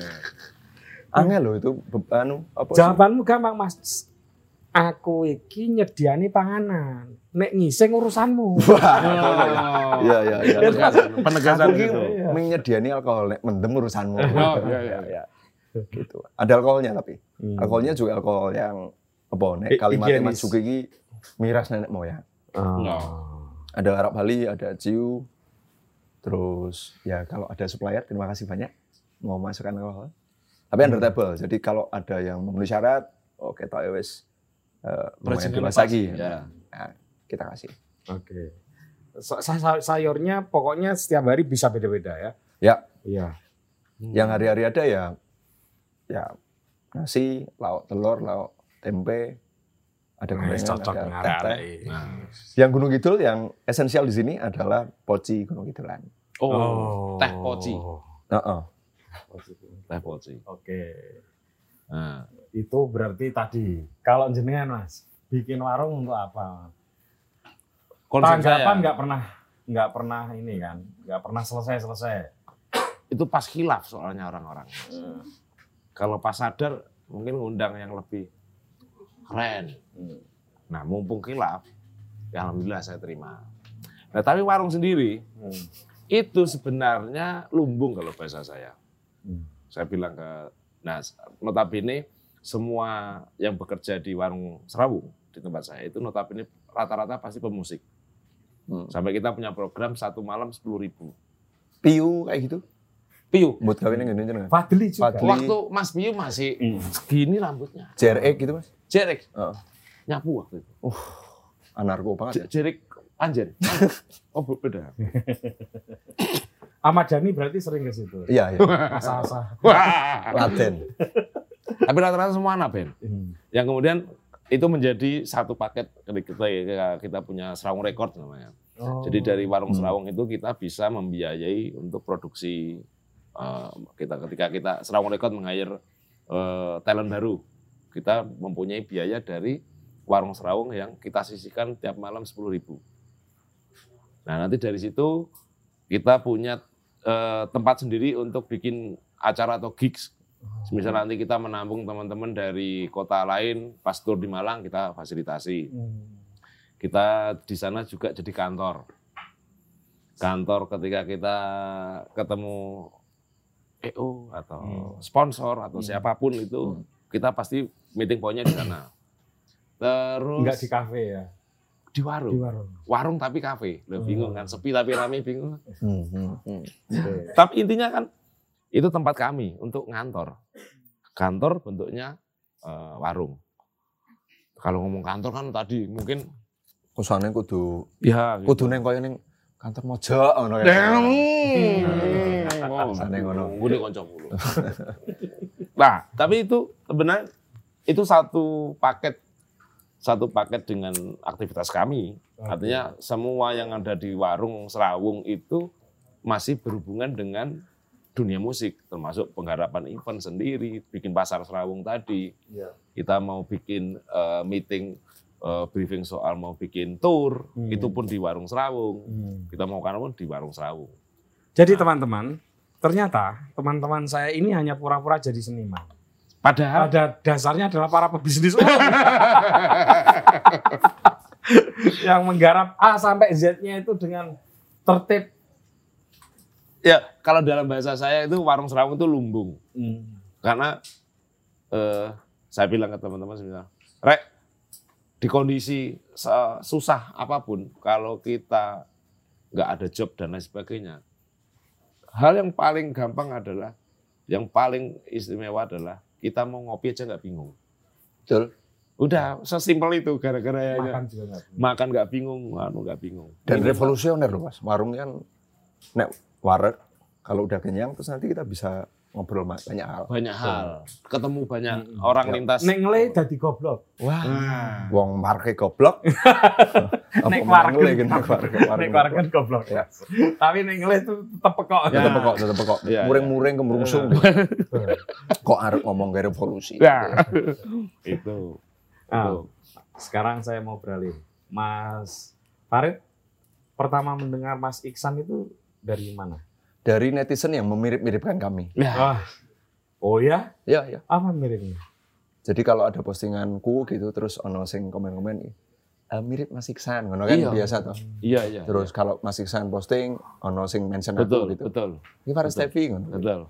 Speaker 2: Angel loh itu be- anu apa sih?
Speaker 1: Jawabanmu gampang Mas. Aku iki nyediani panganan. Nek ngising urusanmu.
Speaker 2: Iya iya iya.
Speaker 3: Penegasan
Speaker 2: Aku ki
Speaker 3: gitu.
Speaker 1: Iya.
Speaker 2: menyediani alkohol nek mendem urusanmu.
Speaker 3: Oh, iya, iya. Hmm.
Speaker 2: Iya. Gitu. Ada alkoholnya tapi. Alkoholnya juga alkohol yang apa nek
Speaker 1: I-
Speaker 2: kalimatnya
Speaker 1: higienis.
Speaker 2: Mas Juki ki miras nenek moyang.
Speaker 1: Ah,
Speaker 3: Nah.
Speaker 2: Ada Arab Bali, ada Ciu. Terus ya kalau ada supplier terima kasih banyak mau masukkan alkohol. Tapi
Speaker 3: Hmm.
Speaker 2: under table. Jadi kalau ada yang memenuhi syarat, oke tak ya wis eh, lumayan
Speaker 3: Perizinan
Speaker 2: dewasa
Speaker 3: lepas,
Speaker 2: lagi.
Speaker 3: ya.
Speaker 2: Nah, kita kasih.
Speaker 1: Oke. Sa- sa- sayurnya pokoknya setiap hari bisa beda-beda ya.
Speaker 2: Ya,
Speaker 1: Iya.
Speaker 2: yang hari-hari ada ya ya nasi, lauk telur, lauk tempe, ada
Speaker 1: Wis Hmm. Eh,
Speaker 2: gorengan,
Speaker 1: cocok
Speaker 2: ada
Speaker 1: ngarep.
Speaker 2: teh. Yang Gunung Kidul yang esensial di sini adalah poci Gunung Kidulan.
Speaker 3: Oh, teh poci.
Speaker 2: Heeh.
Speaker 3: Teh poci.
Speaker 1: Oke.
Speaker 3: Nah,
Speaker 1: Itu berarti tadi kalau jenengan Mas bikin warung untuk apa?
Speaker 3: konsep
Speaker 1: Tanggapan
Speaker 3: saya
Speaker 1: nggak pernah nggak pernah ini kan, nggak pernah selesai-selesai.
Speaker 3: itu pas khilaf soalnya orang-orang.
Speaker 1: Hmm.
Speaker 3: Kalau pas sadar mungkin ngundang yang lebih keren.
Speaker 1: Hmm.
Speaker 3: Nah, mumpung khilaf, ya alhamdulillah saya terima. Nah, tapi warung sendiri
Speaker 1: Hmm.
Speaker 3: itu sebenarnya lumbung kalau bahasa saya.
Speaker 1: Hmm.
Speaker 3: Saya bilang ke nah notabene semua yang bekerja di warung Serawung di tempat saya itu notabene rata-rata pasti pemusik.
Speaker 2: Hmm.
Speaker 3: Sampai kita punya program satu malam 10.000 ribu.
Speaker 2: Piu kayak gitu.
Speaker 3: Piu.
Speaker 2: Buat kawinnya gini jenengan.
Speaker 1: Fadli juga.
Speaker 2: Fadli. Beli-
Speaker 3: Waktu Mas Piu masih segini rambutnya.
Speaker 2: JRE gitu mas.
Speaker 3: Jerek
Speaker 2: Heeh.
Speaker 3: nyapu waktu itu.
Speaker 2: Anarko banget. ya.
Speaker 3: Je- Jerek panjen. Oh beda.
Speaker 1: Ahmad Dhani berarti sering ke situ.
Speaker 2: Iya iya.
Speaker 1: Asa-asa.
Speaker 3: Wah.
Speaker 2: Laten.
Speaker 3: Tapi rata-rata semua anak band.
Speaker 1: Hmm.
Speaker 3: yang kemudian itu menjadi satu paket ketika kita, kita punya Serawung Record namanya.
Speaker 1: Oh.
Speaker 3: Jadi dari warung
Speaker 2: Hmm.
Speaker 3: Serawung itu kita bisa membiayai untuk produksi eh, kita ketika kita Serawung Record meng-hire eh, talent baru, kita mempunyai biaya dari warung Serawung yang kita sisihkan tiap malam 10.000 Nah nanti dari situ kita punya eh, tempat sendiri untuk bikin acara atau gigs Misal nanti kita menampung teman-teman dari kota lain, pas tur di Malang kita fasilitasi.
Speaker 1: Hmm.
Speaker 3: Kita di sana juga jadi kantor. Kantor ketika kita ketemu EO atau
Speaker 1: Hmm.
Speaker 3: sponsor atau siapapun itu, kita pasti meeting pointnya di sana. Terus
Speaker 1: Nggak di kafe ya,
Speaker 3: di
Speaker 1: di Hmm.
Speaker 3: warung.
Speaker 1: warung.
Speaker 3: Warung tapi kafe. Loh, bingung kan, sepi tapi rame bingung.
Speaker 2: Hmm, hmm, hmm.
Speaker 1: Oke.
Speaker 3: Tapi intinya kan itu tempat kami untuk ngantor. Kantor bentuknya eh, warung. Kalau ngomong kantor kan tadi mungkin
Speaker 2: Kusane kudu
Speaker 3: ya
Speaker 2: kudu neng koyo neng kantor mojok ngono ya.
Speaker 1: Hmm.
Speaker 2: Sana
Speaker 3: Hmm.
Speaker 2: ngono.
Speaker 3: Gue konco mulu. Nah, tapi itu sebenarnya itu satu paket satu paket dengan aktivitas kami. Artinya semua yang ada di warung Serawung itu masih berhubungan dengan dunia musik, termasuk pengharapan event sendiri, bikin pasar Serawung tadi. Kita mau bikin eh, meeting eh, briefing soal mau bikin tour,
Speaker 1: Hmm.
Speaker 3: itu pun di warung Serawung.
Speaker 1: Hmm.
Speaker 3: Kita mau kan pun di warung Serawung.
Speaker 1: Jadi teman-teman, ternyata teman-teman saya ini hanya pura-pura jadi seniman.
Speaker 3: Padahal
Speaker 1: Pada dasarnya adalah para pebisnis umum. yang menggarap A sampai Z-nya itu dengan tertib.
Speaker 3: ya kalau dalam bahasa saya itu warung Serawung itu lumbung. karena eh, saya bilang ke teman-teman sebenarnya, rek di kondisi se- susah apapun kalau kita nggak ada job dan lain sebagainya hal yang paling gampang adalah yang paling istimewa adalah kita mau ngopi aja nggak bingung
Speaker 2: Betul.
Speaker 3: udah sesimpel itu gara-gara ya
Speaker 1: Makan juga nggak.
Speaker 3: makan nggak bingung anu nggak bingung
Speaker 2: Dan revolusioner loh mas. Warung kan nek warek kalau udah kenyang terus nanti kita bisa ngobrol ma- banyak hal.
Speaker 3: banyak hal ketemu banyak orang lintas
Speaker 1: Nek ngele dadi goblok.
Speaker 2: Wong marke goblok.
Speaker 1: Nek warung.
Speaker 2: warung nek warung.
Speaker 1: Nek wargen kan goblok.
Speaker 2: Ya.
Speaker 1: Tapi nek ngele itu tetep pekok.
Speaker 3: Ya.
Speaker 2: Tetep kok, tetep kok.
Speaker 3: Ya, ya.
Speaker 2: Muring-muring kemrungsung.
Speaker 3: Iya,
Speaker 2: Kok arep ngomong ke revolusi.
Speaker 3: Ya. itu
Speaker 1: Ah,
Speaker 3: Itu.
Speaker 1: sekarang saya mau beralih. Mas Farid, pertama mendengar Mas Iksan itu dari mana?
Speaker 2: Dari netizen yang memirip-miripkan kami.
Speaker 3: Ya.
Speaker 1: Ah. Oh ya?
Speaker 2: Ya, ya.
Speaker 1: Apa miripnya?
Speaker 2: Jadi kalau ada postinganku gitu terus ono sing komen-komen "Eh, mirip Mas Iksan, ngono kan
Speaker 3: Iya.
Speaker 2: biasa toh.
Speaker 3: iya iya
Speaker 2: Terus kalau Mas Iksan posting ono sing mention
Speaker 3: betul
Speaker 2: aku gitu.
Speaker 3: betul
Speaker 2: Ini Faris Tevi ngono.
Speaker 3: betul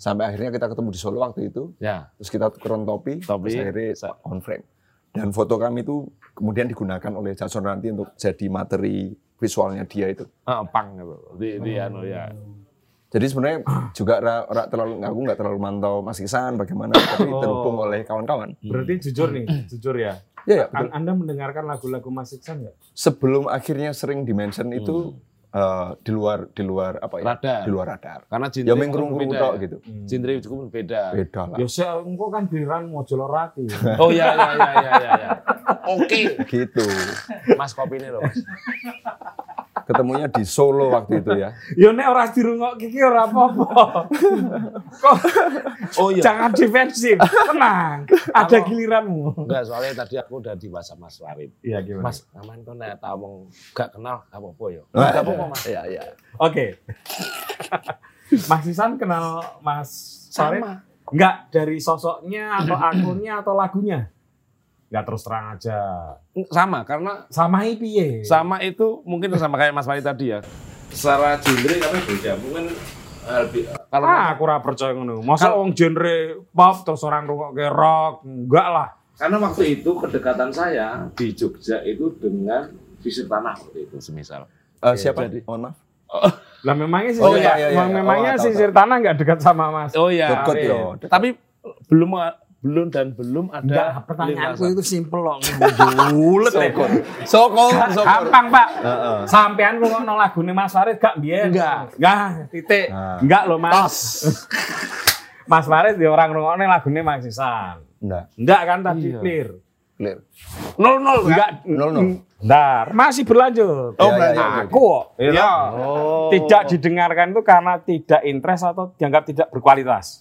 Speaker 2: Sampai akhirnya kita ketemu di Solo waktu itu,
Speaker 3: ya
Speaker 2: terus kita tukeran topi,
Speaker 3: Topi.
Speaker 2: terus akhirnya sa- on frame. Dan foto kami itu kemudian digunakan oleh Jason nanti untuk jadi materi visualnya dia itu.
Speaker 3: ah, pang gitu di di
Speaker 2: Oh.
Speaker 3: anu ya
Speaker 2: Jadi sebenarnya juga ra, ra terlalu aku nggak terlalu mantau Mas Iksan bagaimana, tapi
Speaker 1: Oh.
Speaker 2: terhubung oleh kawan-kawan.
Speaker 1: Berarti jujur nih, jujur ya.
Speaker 2: Ya, ya,
Speaker 1: An- Anda mendengarkan lagu-lagu Mas Iksan nggak?
Speaker 2: sebelum akhirnya sering dimention itu eh, di luar di luar apa ya?
Speaker 3: Radar.
Speaker 2: Di luar radar.
Speaker 3: karena
Speaker 2: Ya
Speaker 3: jindri Hmm.
Speaker 2: ming krungu tok gitu.
Speaker 3: jindri cukup berbeda
Speaker 2: Beda lah.
Speaker 1: Ya saya engko kan giliran Mojolorati.
Speaker 2: Eh.
Speaker 3: oh ya ya ya ya ya, ya. oke
Speaker 2: Gitu.
Speaker 3: mas kopi ini loh mas
Speaker 2: Ketemunya di Solo waktu itu ya.
Speaker 1: ya nek ora dirungok iki ora apa-apa. Kok
Speaker 3: oh iya
Speaker 1: jangan defensif, tenang. Ada giliranmu.
Speaker 3: enggak soalnya tadi aku udah di bahasa mas Farid
Speaker 1: Iya gimana?
Speaker 3: mas aman kok nek tak omong gak kenal gak apa-apa ya
Speaker 2: Wah,
Speaker 3: gak apa-apa mas
Speaker 2: Iya, iya.
Speaker 1: Oke. Mas Iksan kenal Mas Farid?
Speaker 3: sama
Speaker 1: Enggak dari sosoknya atau akunnya atau lagunya? Enggak terus terang aja.
Speaker 3: sama karena
Speaker 1: Sama piye?
Speaker 3: sama itu mungkin sama kayak mas Farid tadi ya secara jindri kami beda mungkin eh, lebih- kalau
Speaker 1: Ah, aku ora percaya ngono. Masa wong genre pop terus orang ngrungokke rock? Enggak lah.
Speaker 3: Karena waktu itu kedekatan saya di Jogja itu dengan visir tanah waktu itu semisal.
Speaker 2: Eh, siapa? Mohon maaf.
Speaker 1: Lah memangnya sih
Speaker 2: Oh, iya, iya, iya.
Speaker 1: memangnya
Speaker 2: Oh, tahu,
Speaker 1: sih
Speaker 2: tahu.
Speaker 1: sir tanah enggak dekat sama Mas.
Speaker 3: Oh iya.
Speaker 2: Dekat
Speaker 1: Farid.
Speaker 2: yo.
Speaker 3: Tapi belum belum dan belum ada lintasan.
Speaker 1: itu simple loh. Bulet ya.
Speaker 2: Sokol, sokol.
Speaker 1: Gampang, Pak.
Speaker 2: Heeh.
Speaker 1: Sampean kok ngono lagune Mas Farid gak biyen.
Speaker 3: Enggak.
Speaker 1: Enggak, titik.
Speaker 2: Nah.
Speaker 1: Enggak loh, Mas. Mas Farid ya orang ngrungokne lagune Mas Isan.
Speaker 2: Nah,
Speaker 1: Enggak kan tadi clear.
Speaker 2: clear.
Speaker 3: Nol nol
Speaker 1: Enggak.
Speaker 2: Nol, nol.
Speaker 1: Bentar, masih berlanjut.
Speaker 2: Oh, Ya, ya, berlanjut. ya, ya.
Speaker 1: Aku kok.
Speaker 3: Ya.
Speaker 2: Oh.
Speaker 1: Tidak didengarkan itu karena tidak interest atau dianggap tidak berkualitas.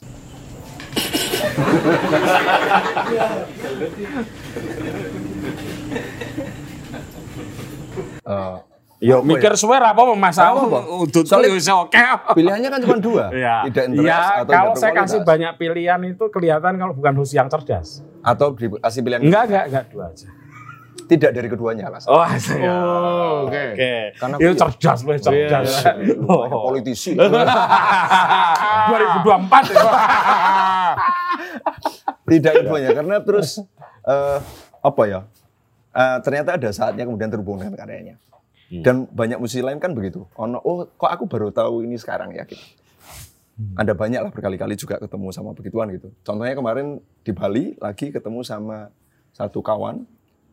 Speaker 2: Eh,
Speaker 1: Yo
Speaker 2: apa
Speaker 1: mikir
Speaker 2: ya?
Speaker 1: suwe ra apa Mas Awu
Speaker 2: apa.
Speaker 1: udut
Speaker 2: Soalnya-
Speaker 1: yo iso oke.
Speaker 2: pilihannya kan cuma dua.
Speaker 1: Ya.
Speaker 2: Tidak interest
Speaker 1: Ya,
Speaker 2: atau
Speaker 1: kalau
Speaker 2: tidak
Speaker 1: saya kasih
Speaker 2: berkualitas.
Speaker 1: banyak pilihan itu kelihatan kalau bukan host yang cerdas.
Speaker 2: atau dikasih pilihan
Speaker 1: Enggak, enggak, enggak dua aja.
Speaker 2: tidak dari keduanya lah.
Speaker 1: Oh, saya.
Speaker 3: Oh, oke.
Speaker 1: Oke.
Speaker 2: Karena Iya,
Speaker 1: Yo
Speaker 2: aku-
Speaker 1: cerdas lu cerdas. Oh.
Speaker 2: Politisi.
Speaker 1: 2024.
Speaker 2: tidak infonya karena terus eh, apa ya Eh, ternyata ada saatnya kemudian terhubung dengan karyanya dan banyak musisi lain kan begitu ono oh kok aku baru tahu ini sekarang ya gitu ada banyak lah berkali-kali juga ketemu sama begituan gitu contohnya kemarin di Bali lagi ketemu sama satu kawan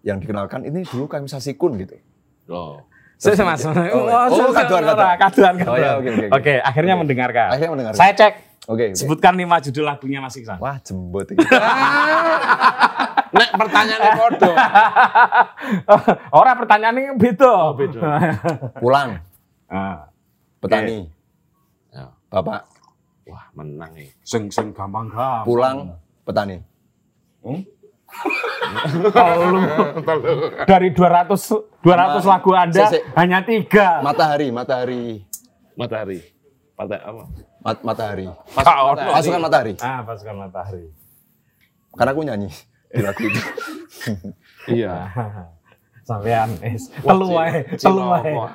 Speaker 2: yang dikenalkan ini dulu kami sasikun gitu
Speaker 3: Oh.
Speaker 1: Saya sama sama.
Speaker 2: Oh, oh, kaduan, kaduan.
Speaker 1: kaduan,
Speaker 2: Oh,
Speaker 1: kaduan.
Speaker 2: ya, oke, Iya. oke, oke.
Speaker 1: Oke, akhirnya mendengarkan.
Speaker 2: Akhirnya mendengarkan.
Speaker 1: Saya cek.
Speaker 2: Oke. oke.
Speaker 1: Sebutkan lima judul lagunya Mas Iksan.
Speaker 2: Wah, jembut ini.
Speaker 3: Nek pertanyaannya podo.
Speaker 1: Orang pertanyaannya beda. Nah, Oh,
Speaker 2: Pulang, petani,
Speaker 3: Ya.
Speaker 2: bapak,
Speaker 3: Wah, menang nih.
Speaker 1: sing sing gampang gampang.
Speaker 2: pulang, petani.
Speaker 1: Dari 200 200 lagu Anda
Speaker 2: Sik, sik.
Speaker 1: hanya tiga.
Speaker 2: Matahari, matahari,
Speaker 3: Matahari. Patah apa?
Speaker 2: mat- matahari.
Speaker 3: Pasukan
Speaker 1: Kaos.
Speaker 3: matahari.
Speaker 2: Pasukan matahari.
Speaker 1: Ah, pasukan matahari.
Speaker 2: Karena aku nyanyi di lagu itu.
Speaker 3: Iya.
Speaker 1: Sampean es telu wae, telu
Speaker 3: Cino
Speaker 1: wae.
Speaker 3: apa?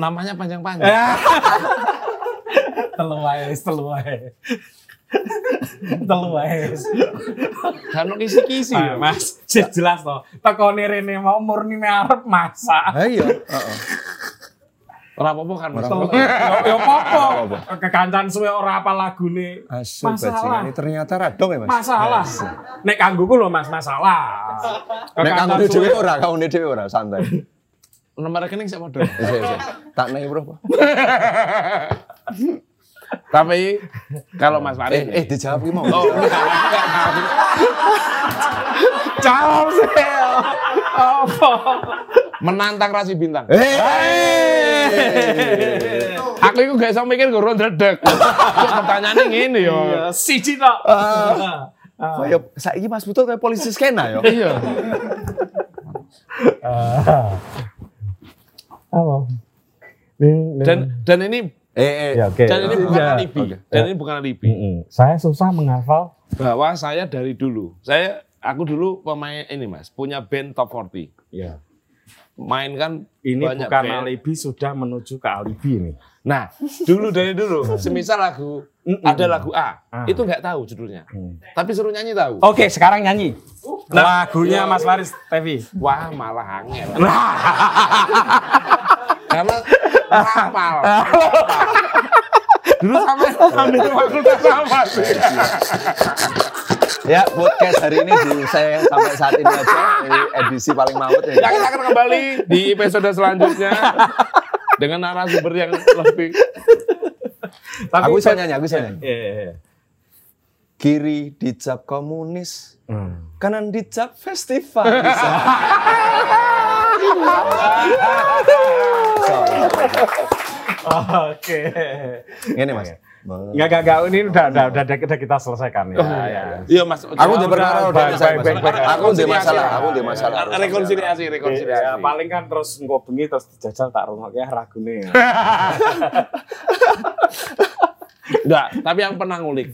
Speaker 3: Namanya panjang-panjang.
Speaker 1: Telu wae, es, telu wae. Telu wae. es.
Speaker 3: Kan kisi-kisi
Speaker 1: Ah,
Speaker 3: ya.
Speaker 1: Mas, sih jelas toh. Tekone rene mau murni arep masak.
Speaker 2: Ayo. heeh.
Speaker 3: Ora apa-apa kan. Mas.
Speaker 2: Ora
Speaker 1: Telu-
Speaker 2: apa-apa.
Speaker 1: Yo- Yo popo.
Speaker 2: apa-apa.
Speaker 1: Kekancan ya, suwe ora apa lagune.
Speaker 2: Asu
Speaker 1: Masalah.
Speaker 2: bajingan ini ternyata radong ya, Mas.
Speaker 1: Masalah. Nek kanggoku lho Mas, masalah.
Speaker 2: Nek
Speaker 1: Kekancan
Speaker 2: kamu
Speaker 1: suwe-
Speaker 2: dhewe ora, kamu dhewe ora santai.
Speaker 3: Nomor rekening saya podo.
Speaker 2: Isih, isih. Tak nek bro.
Speaker 3: Tapi kalau Mas Farid
Speaker 2: Eh, eh dijawab ki mau.
Speaker 3: Oh, enggak, enggak, enggak.
Speaker 1: Jawab sel. Apa?
Speaker 3: menantang rasi bintang.
Speaker 2: Eh.
Speaker 3: Aku itu gak bisa mikir gue redek. Kok ya? pertanyaannya gini yo.
Speaker 1: Iya. Siji tok. Nah.
Speaker 2: Ah. Kayak saiki Mas Butuh kayak polisi skena yo.
Speaker 3: Iya.
Speaker 1: Apa?
Speaker 3: Dan dan ini
Speaker 2: Eh, eh.
Speaker 1: Ya, oke.
Speaker 3: dan ini bukan
Speaker 1: Ya,
Speaker 3: alibi.
Speaker 1: oke.
Speaker 3: Dan ini bukan alibi.
Speaker 1: Mm-mm. Saya susah menghafal.
Speaker 3: Bahwa saya dari dulu, saya aku dulu pemain ini Mas, punya band top 40.
Speaker 1: Ya.
Speaker 3: Main kan
Speaker 1: Ini
Speaker 3: banyak
Speaker 1: bukan
Speaker 3: band.
Speaker 1: alibi sudah menuju ke alibi ini.
Speaker 3: Nah, dulu dari dulu, semisal lagu ada lagu A,
Speaker 1: Ah. Mm. Oh.
Speaker 3: itu nggak tahu judulnya. Tapi suruh nyanyi tahu.
Speaker 1: Oke, sekarang nyanyi.
Speaker 2: Nah.
Speaker 1: Lagunya Mas Faris Tevi.
Speaker 3: Wah, malah angel.
Speaker 1: Nah.
Speaker 3: Karena hafal. Dulu sama ambil fakultas sama sih.
Speaker 2: Ya, podcast hari ini di saya sampai saat ini aja Ini edisi paling maut ya.
Speaker 3: Ya, kita akan kembali di episode selanjutnya dengan narasumber yang lebih
Speaker 1: Tapi
Speaker 2: Aku bisa nyanyi, aku bisa nyanyi.
Speaker 1: Iya, iya, iya.
Speaker 2: Kiri dicap komunis, kanan dicap festival.
Speaker 1: Oke.
Speaker 2: Ini
Speaker 1: Iya,
Speaker 2: Mas.
Speaker 1: Enggak, enggak, enggak. Ini udah, udah, udah, udah kita selesaikan.
Speaker 2: Oh,
Speaker 1: Ya, ya.
Speaker 3: Iya, Mas.
Speaker 2: Aku udah
Speaker 1: udah,
Speaker 2: perkara udah
Speaker 1: baik,
Speaker 2: selesai,
Speaker 1: baik,
Speaker 2: Mas.
Speaker 1: baik, baik.
Speaker 2: Aku
Speaker 3: ya,
Speaker 2: udah masalah, aku udah masalah. Iya,
Speaker 3: rekonsiliasi, rekonsiliasi.
Speaker 1: Ya, paling kan terus engko bengi terus dijajal tak rungok ya ragune.
Speaker 3: Enggak, tapi yang pernah ngulik.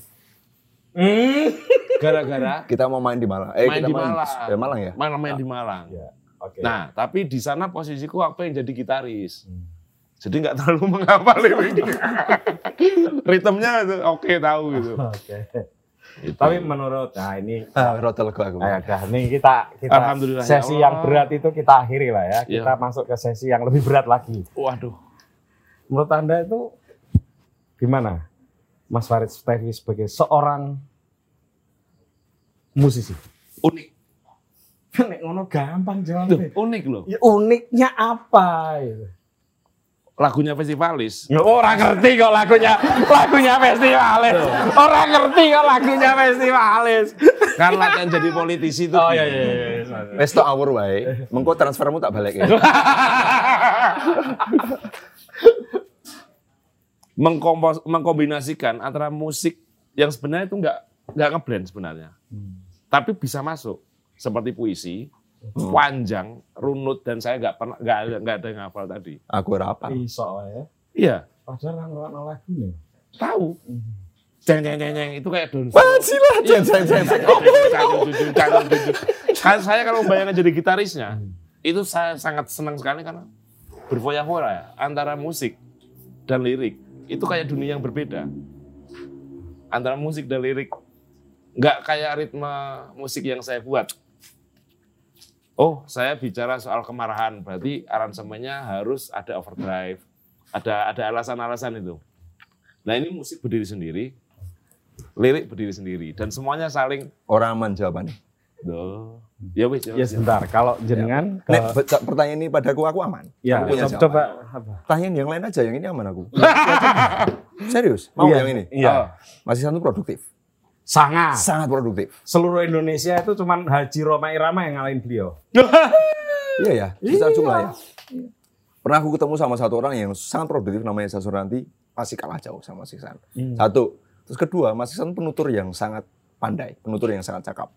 Speaker 1: Hmm.
Speaker 3: Gara-gara
Speaker 2: Kita mau main di Malang. Eh,
Speaker 3: main
Speaker 2: kita
Speaker 3: di Malang.
Speaker 2: Ya Malang ya.
Speaker 3: Main, main di Malang.
Speaker 1: Ya, Oke.
Speaker 3: Nah, tapi di sana posisiku aku yang jadi gitaris. Jadi nggak terlalu menghafal lirik. Ritmenya itu oke tahu gitu.
Speaker 1: Oke. Tapi menurut nah ini
Speaker 2: Ah, rotel gua aku.
Speaker 1: Ayo dah, nih kita kita
Speaker 3: Nah. Alhamdulillah,
Speaker 1: sesi
Speaker 3: ya Allah.
Speaker 1: yang berat itu kita akhiri lah ya. Kita
Speaker 3: Iya.
Speaker 1: masuk ke sesi yang lebih berat lagi.
Speaker 3: Waduh.
Speaker 1: Menurut Anda itu gimana? Mas Farid Stevi sebagai seorang musisi.
Speaker 3: Unik.
Speaker 1: Nek ngono gampang
Speaker 3: Tuh,
Speaker 1: jawabannya.
Speaker 3: unik loh.
Speaker 1: Ya, uniknya apa gitu.
Speaker 3: Lagunya festivalis.
Speaker 1: Orang ngerti kok lagunya lagunya festivalis. Orang ngerti kok lagunya festivalis.
Speaker 3: Kan latihan jadi politisi itu.
Speaker 1: Oh iya iya iya.
Speaker 2: Wes tok awur wae. Mengko transfermu tak balik ya.
Speaker 3: Mengkompos, mengkombinasikan antara musik yang sebenarnya itu nggak nggak ngeblend sebenarnya.
Speaker 1: Hmm.
Speaker 3: Tapi bisa masuk seperti puisi,
Speaker 1: Hmm.
Speaker 3: panjang, runut dan saya nggak pernah nggak ada nggak ada yang hafal tadi.
Speaker 2: Aku ora apa.
Speaker 1: Iso lah ya.
Speaker 3: Iya,
Speaker 1: Padahal nang ngrungokno lagune.
Speaker 3: tahu. Jeng jeng jeng jeng itu kayak Don.
Speaker 2: Wah, silah. Jen, jen, jen, Oh, jen.
Speaker 3: Kan saya kalau bayangin jadi gitarisnya, itu saya sangat senang sekali karena berfoya-foya ya, antara musik dan lirik. Itu kayak dunia yang berbeda. Antara musik dan lirik. Nggak kayak ritme musik yang saya buat. Oh, saya bicara soal kemarahan, berarti aransemennya harus ada overdrive, ada ada alasan-alasan itu. Nah ini musik berdiri sendiri, lirik berdiri sendiri, dan semuanya saling
Speaker 2: Ora aman jawabane.
Speaker 3: Duh. Ya wis. ya
Speaker 1: Ya
Speaker 3: wis.
Speaker 1: sebentar, kalau jenengan ke,
Speaker 2: Ya, Nek, be- pertanyaan ini padaku aku aman.
Speaker 1: ya
Speaker 2: aku punya
Speaker 1: coba,
Speaker 2: jawaban.
Speaker 1: coba
Speaker 2: Tanyain yang lain aja, yang ini aman aku. Serius, mau
Speaker 1: Iya,
Speaker 2: yang ini?
Speaker 1: Iya.
Speaker 3: Ya. Oh,
Speaker 2: Masih satu produktif,
Speaker 1: Sangat.
Speaker 2: sangat produktif.
Speaker 1: Seluruh Indonesia itu cuman Haji Roma Irama yang ngalahin beliau.
Speaker 2: Iya ya, secara jumlah ya. Pernah aku ketemu sama satu orang yang sangat produktif namanya Sasuranti, pasti kalah jauh sama Mas Iksan. Satu. Terus kedua, Mas Iksan penutur yang sangat pandai, penutur yang sangat cakap.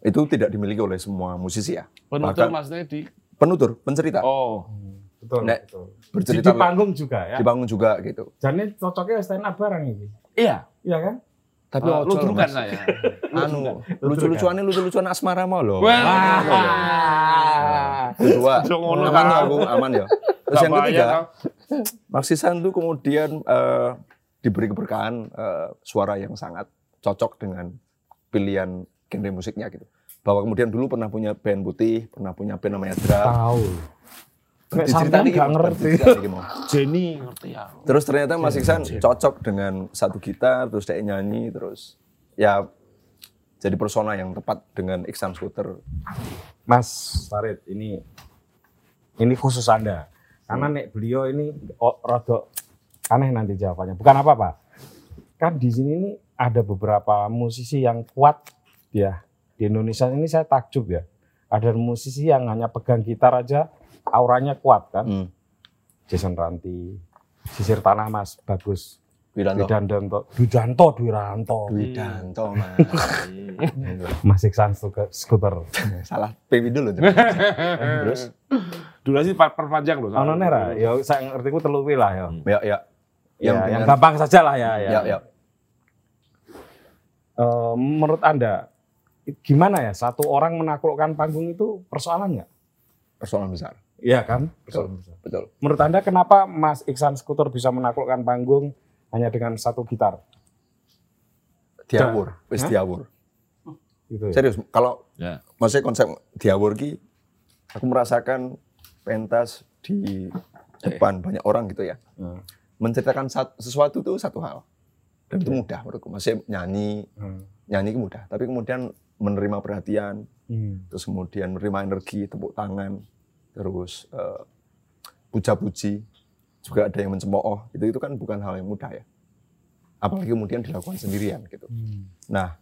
Speaker 2: Itu tidak dimiliki oleh semua musisi ya.
Speaker 3: Penutur
Speaker 2: Bahkan-
Speaker 3: Mas Teddy.
Speaker 2: Penutur, pencerita,
Speaker 3: Oh.
Speaker 1: Betul,
Speaker 2: Nek,
Speaker 1: betul. Di,
Speaker 2: bercerita
Speaker 1: di panggung juga ya.
Speaker 2: di panggung juga gitu.
Speaker 1: Jadi cocoknya stand up bareng ini.
Speaker 3: Iya.
Speaker 1: Iya kan?
Speaker 2: Tapi
Speaker 3: Eh,
Speaker 2: ojo,
Speaker 3: ludrukan
Speaker 2: Mas.
Speaker 3: saya.
Speaker 2: Ah, kan? anu lucu-lucuannya lucu-lucuan asmara mau loh.
Speaker 3: Wah.
Speaker 2: Kedua,
Speaker 3: Langsung ngono,
Speaker 2: aman ya
Speaker 3: Kak.
Speaker 2: aku, aman ya. Terus yang ketiga, Marsisan tuh kemudian eh, diberi keberkahan eh, suara yang sangat cocok dengan pilihan genre musiknya gitu. Bahwa kemudian dulu pernah punya band putih, pernah punya band namanya Dra.
Speaker 1: Tahu. Nek
Speaker 2: Diceritain
Speaker 1: sampean
Speaker 2: iki,
Speaker 1: gak
Speaker 2: Mas.
Speaker 1: ngerti.
Speaker 2: Diceritain iki, Mas.
Speaker 3: Jenny ngerti ya.
Speaker 2: Terus ternyata Mas Iksan cocok dengan satu gitar, terus dia nyanyi, terus ya jadi persona yang tepat dengan Iksan Scooter.
Speaker 1: Mas Farid, ini ini khusus Anda. Karena nek beliau ini o- rada aneh nanti jawabannya. Bukan apa-apa. Kan di sini ini ada beberapa musisi yang kuat ya. Di Indonesia ini saya takjub ya. Ada musisi yang hanya pegang gitar aja auranya kuat kan. Jason Ranti, Sisir Tanah Mas, bagus.
Speaker 2: Wiranto.
Speaker 1: Dudanto, Dudanto, Duranto,
Speaker 2: Widanto, Mas.
Speaker 1: Mas Iksan Stuke- Skuter.
Speaker 2: Salah PW dulu. Ya, ternyata. terus,
Speaker 3: Durasi pa- perpanjang loh.
Speaker 1: Ono nera, ya saya ngerti ku telu kuwi lah ya.
Speaker 2: ya, ya.
Speaker 1: Ya, Yang,
Speaker 2: dengan-
Speaker 1: gampang saja lah ya. ya.
Speaker 2: ya, ya.
Speaker 1: Eh, menurut Anda, gimana ya satu orang menaklukkan panggung itu persoalan nggak?
Speaker 2: Persoalan besar.
Speaker 1: Iya kan?
Speaker 2: Betul. Betul.
Speaker 1: Menurut Anda kenapa Mas Iksan Skuter bisa menaklukkan panggung hanya dengan satu gitar?
Speaker 2: Diawur, wis diawur.
Speaker 1: Gitu ya?
Speaker 2: Serius, kalau
Speaker 3: Ya.
Speaker 2: maksudnya konsep diawur ki aku merasakan pentas di depan banyak orang gitu ya.
Speaker 1: Hmm.
Speaker 2: Menceritakan sat- sesuatu tuh satu hal. Dan itu mudah menurutku. Maksudnya nyanyi,
Speaker 1: Hmm.
Speaker 2: nyanyi itu mudah, tapi kemudian menerima perhatian,
Speaker 1: Hmm.
Speaker 2: terus kemudian menerima energi, tepuk tangan, terus eh, puja-puji, juga ada yang mencemooh, itu itu kan bukan hal yang mudah ya. Apalagi kemudian dilakukan sendirian gitu.
Speaker 1: Hmm.
Speaker 2: Nah,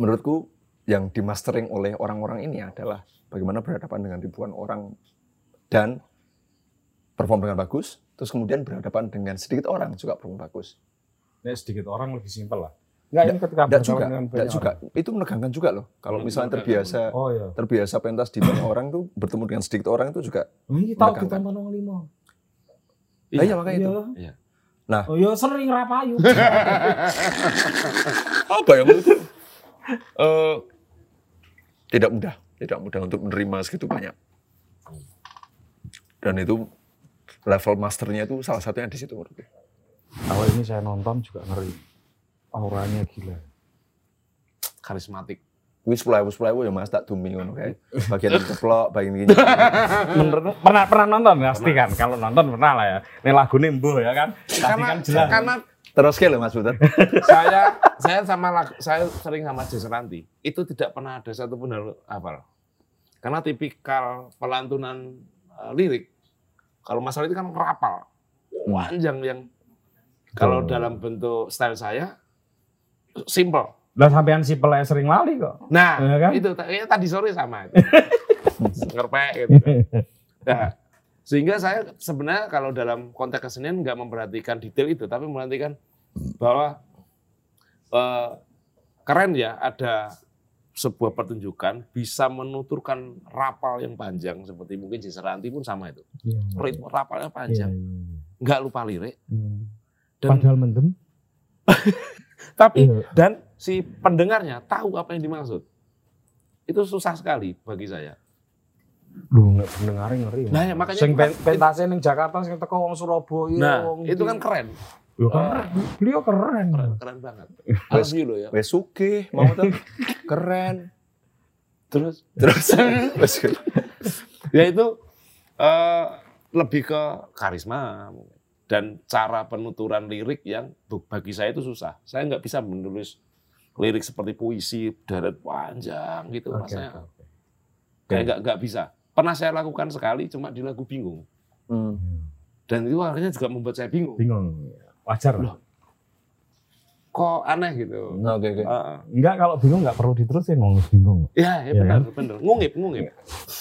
Speaker 2: menurutku yang dimastering oleh orang-orang ini adalah bagaimana berhadapan dengan ribuan orang dan perform dengan bagus, terus kemudian berhadapan dengan sedikit orang juga perform bagus.
Speaker 1: Ya, sedikit orang lebih simpel lah. Enggak, ini ketika
Speaker 2: Enggak
Speaker 1: berhadapan
Speaker 2: juga,
Speaker 1: dengan
Speaker 2: enggak
Speaker 1: banyak
Speaker 2: juga. Itu menegangkan juga loh. Kalau
Speaker 3: Menegangkan.
Speaker 2: misalnya terbiasa
Speaker 1: orang. Oh iya.
Speaker 2: terbiasa pentas di banyak orang tuh bertemu dengan sedikit orang itu juga
Speaker 1: Ini tahu
Speaker 2: Menekankan.
Speaker 1: ditonton orang lima.
Speaker 2: Lah, iya makanya itu
Speaker 1: Iya.
Speaker 3: Iya.
Speaker 2: Nah.
Speaker 1: oh iya sering rapayu.
Speaker 2: apa ya menurutku eh, tidak mudah tidak mudah untuk menerima segitu banyak dan itu level masternya itu salah satunya di situ menurutku
Speaker 1: Kalau ini saya nonton juga ngeri. Auranya gila.
Speaker 3: Karismatik.
Speaker 2: wis mulai wis mulai ya mas tak dumi ngono kayak bagian yang keplok bagian ini
Speaker 1: Menurut- pernah pernah nonton pasti kan? Kalau nonton pernah lah ya. Ini lagu nembo ya kan? Tadi kan jelas.
Speaker 3: karena
Speaker 2: terus ke loh mas Butet
Speaker 3: saya saya sama lag- saya sering sama Jeseranti itu tidak pernah ada satupun hal hafal karena tipikal pelantunan eh, lirik kalau masalah itu kan rapal panjang yang kalau dalam bentuk style saya simple
Speaker 1: Lah sampean si pelek sering lali kok.
Speaker 3: nah
Speaker 1: Iya kan?
Speaker 3: itu ta- ya, tadi sore sama itu ngerpek gitu kan. nah, sehingga saya sebenarnya kalau dalam konteks kesenian nggak memperhatikan detail itu tapi memperhatikan bahwa eh, keren ya ada sebuah pertunjukan bisa menuturkan rapal yang panjang seperti mungkin Jiseranti pun sama itu
Speaker 1: Iya.
Speaker 3: ritme rapalnya
Speaker 1: Iya,
Speaker 3: panjang
Speaker 1: iya, iya.
Speaker 3: nggak lupa lirik
Speaker 1: Hmm.
Speaker 3: dan
Speaker 1: Padahal mendem.
Speaker 3: tapi
Speaker 1: Iya.
Speaker 3: dan si pendengarnya tahu apa yang dimaksud itu susah sekali bagi saya
Speaker 1: Lu nggak pendengar ngeri.
Speaker 3: Nah, ya, makanya
Speaker 1: sing
Speaker 3: itu kan-
Speaker 1: pen- pentasnya ning Jakarta sing teko wong Surabaya
Speaker 3: nah
Speaker 1: Iya, wong
Speaker 3: itu kan keren
Speaker 1: Yo, keren. Beliau keren.
Speaker 3: keren, keren banget I love you loh ya
Speaker 2: wes suke mau tuh keren
Speaker 3: terus
Speaker 2: terus wes suke.
Speaker 3: ya itu eh, lebih ke karisma mungkin. dan cara penuturan lirik yang bu- bagi saya itu susah saya nggak bisa menulis lirik seperti puisi darat panjang gitu
Speaker 1: Oke,
Speaker 3: rasanya
Speaker 1: oke, oke.
Speaker 3: kayak nggak nggak bisa pernah saya lakukan sekali cuma di lagu bingung
Speaker 2: Hmm.
Speaker 3: dan itu akhirnya juga membuat saya bingung
Speaker 1: Bingung. Wajar lah.
Speaker 3: kok aneh gitu
Speaker 2: Nah, Oke oke.
Speaker 3: Heeh.
Speaker 1: Enggak kalau bingung enggak perlu diterusin mau bingung.
Speaker 3: ya, ya
Speaker 1: Iya
Speaker 3: benar benar ngungip ngungip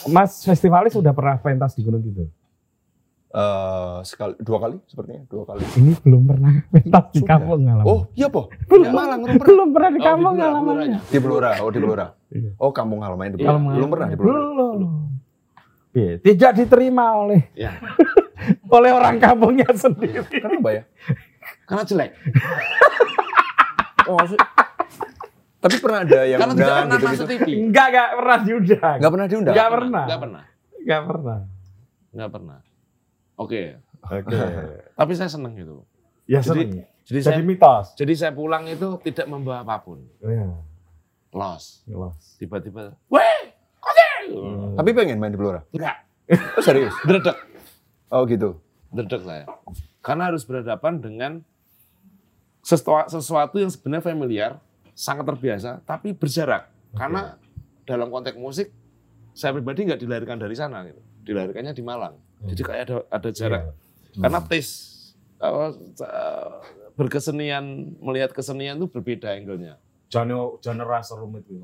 Speaker 1: Mas festivalis sudah pernah pentas di Gunung Kidul?
Speaker 2: Eh, sekali dua kali sepertinya dua kali.
Speaker 1: Ini belum pernah pentas di
Speaker 2: Sudah.
Speaker 1: kampung alamannya.
Speaker 2: Oh iya po
Speaker 1: belum,
Speaker 3: Malang,
Speaker 1: belum,
Speaker 3: belum
Speaker 1: pernah di
Speaker 3: Oh, di
Speaker 1: kampung
Speaker 3: Blora,
Speaker 1: alamannya.
Speaker 3: Bloranya.
Speaker 2: di Blora oh di Blora.
Speaker 1: Iya.
Speaker 2: Oh kampung halamannya di
Speaker 3: Iya.
Speaker 2: Blora. Belum pernah di Blora.
Speaker 1: Belum. Iya, tidak diterima oleh
Speaker 3: Ya.
Speaker 1: oleh orang kampungnya sendiri.
Speaker 2: Kenapa ya?
Speaker 3: karena jelek
Speaker 2: Oh, maksud- tapi pernah ada
Speaker 1: Ya
Speaker 2: yang
Speaker 3: karena tidak
Speaker 2: undang
Speaker 3: pernah
Speaker 2: gitu-gitu.
Speaker 3: masuk TV
Speaker 1: Enggak, enggak pernah diundang.
Speaker 2: Enggak pernah diundang.
Speaker 1: Nggak pernah.
Speaker 3: nggak pernah
Speaker 1: Enggak pernah.
Speaker 3: nggak pernah oke
Speaker 1: Oke.
Speaker 3: tapi saya seneng gitu
Speaker 1: Ya
Speaker 3: Jadi-
Speaker 1: seneng.
Speaker 3: jadi saya
Speaker 1: Ya, Jadi mitos.
Speaker 3: jadi saya pulang itu tidak membawa apapun
Speaker 1: Iya,
Speaker 3: loss
Speaker 1: mitos.
Speaker 3: tiba-tiba weh kocek
Speaker 1: Hmm.
Speaker 2: Tapi pengen main di Blora.
Speaker 3: enggak
Speaker 2: Oh, serius?
Speaker 3: dredek
Speaker 2: Oh gitu.
Speaker 3: dredek saya karena harus berhadapan dengan sesuatu, sesuatu yang sebenarnya familiar sangat terbiasa tapi berjarak karena dalam konteks musik saya pribadi nggak dilahirkan dari sana gitu dilahirkannya di Malang jadi
Speaker 1: Hmm.
Speaker 3: kayak ada ada jarak
Speaker 1: Iya.
Speaker 3: karena taste apa, eh, berkesenian melihat kesenian itu berbeda angle-nya
Speaker 1: Jono Jono rasa rumit itu.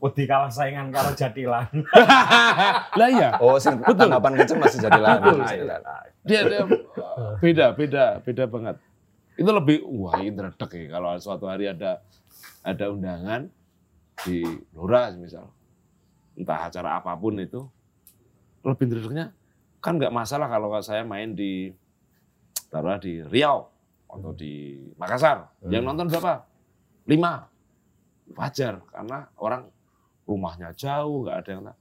Speaker 1: Wedi kalah saingan karo jatilan.
Speaker 3: lah iya
Speaker 2: Oh, sing tanggapan kenceng masih jadi lagu.
Speaker 3: dia, dia uh, beda beda beda banget itu lebih wah ini redek ya kalau suatu hari ada ada undangan di Lora misal entah acara apapun itu lebih redeknya kan nggak masalah kalau saya main di taruhlah di Riau atau di Makassar yang nonton berapa lima wajar karena orang rumahnya jauh nggak ada yang tahu.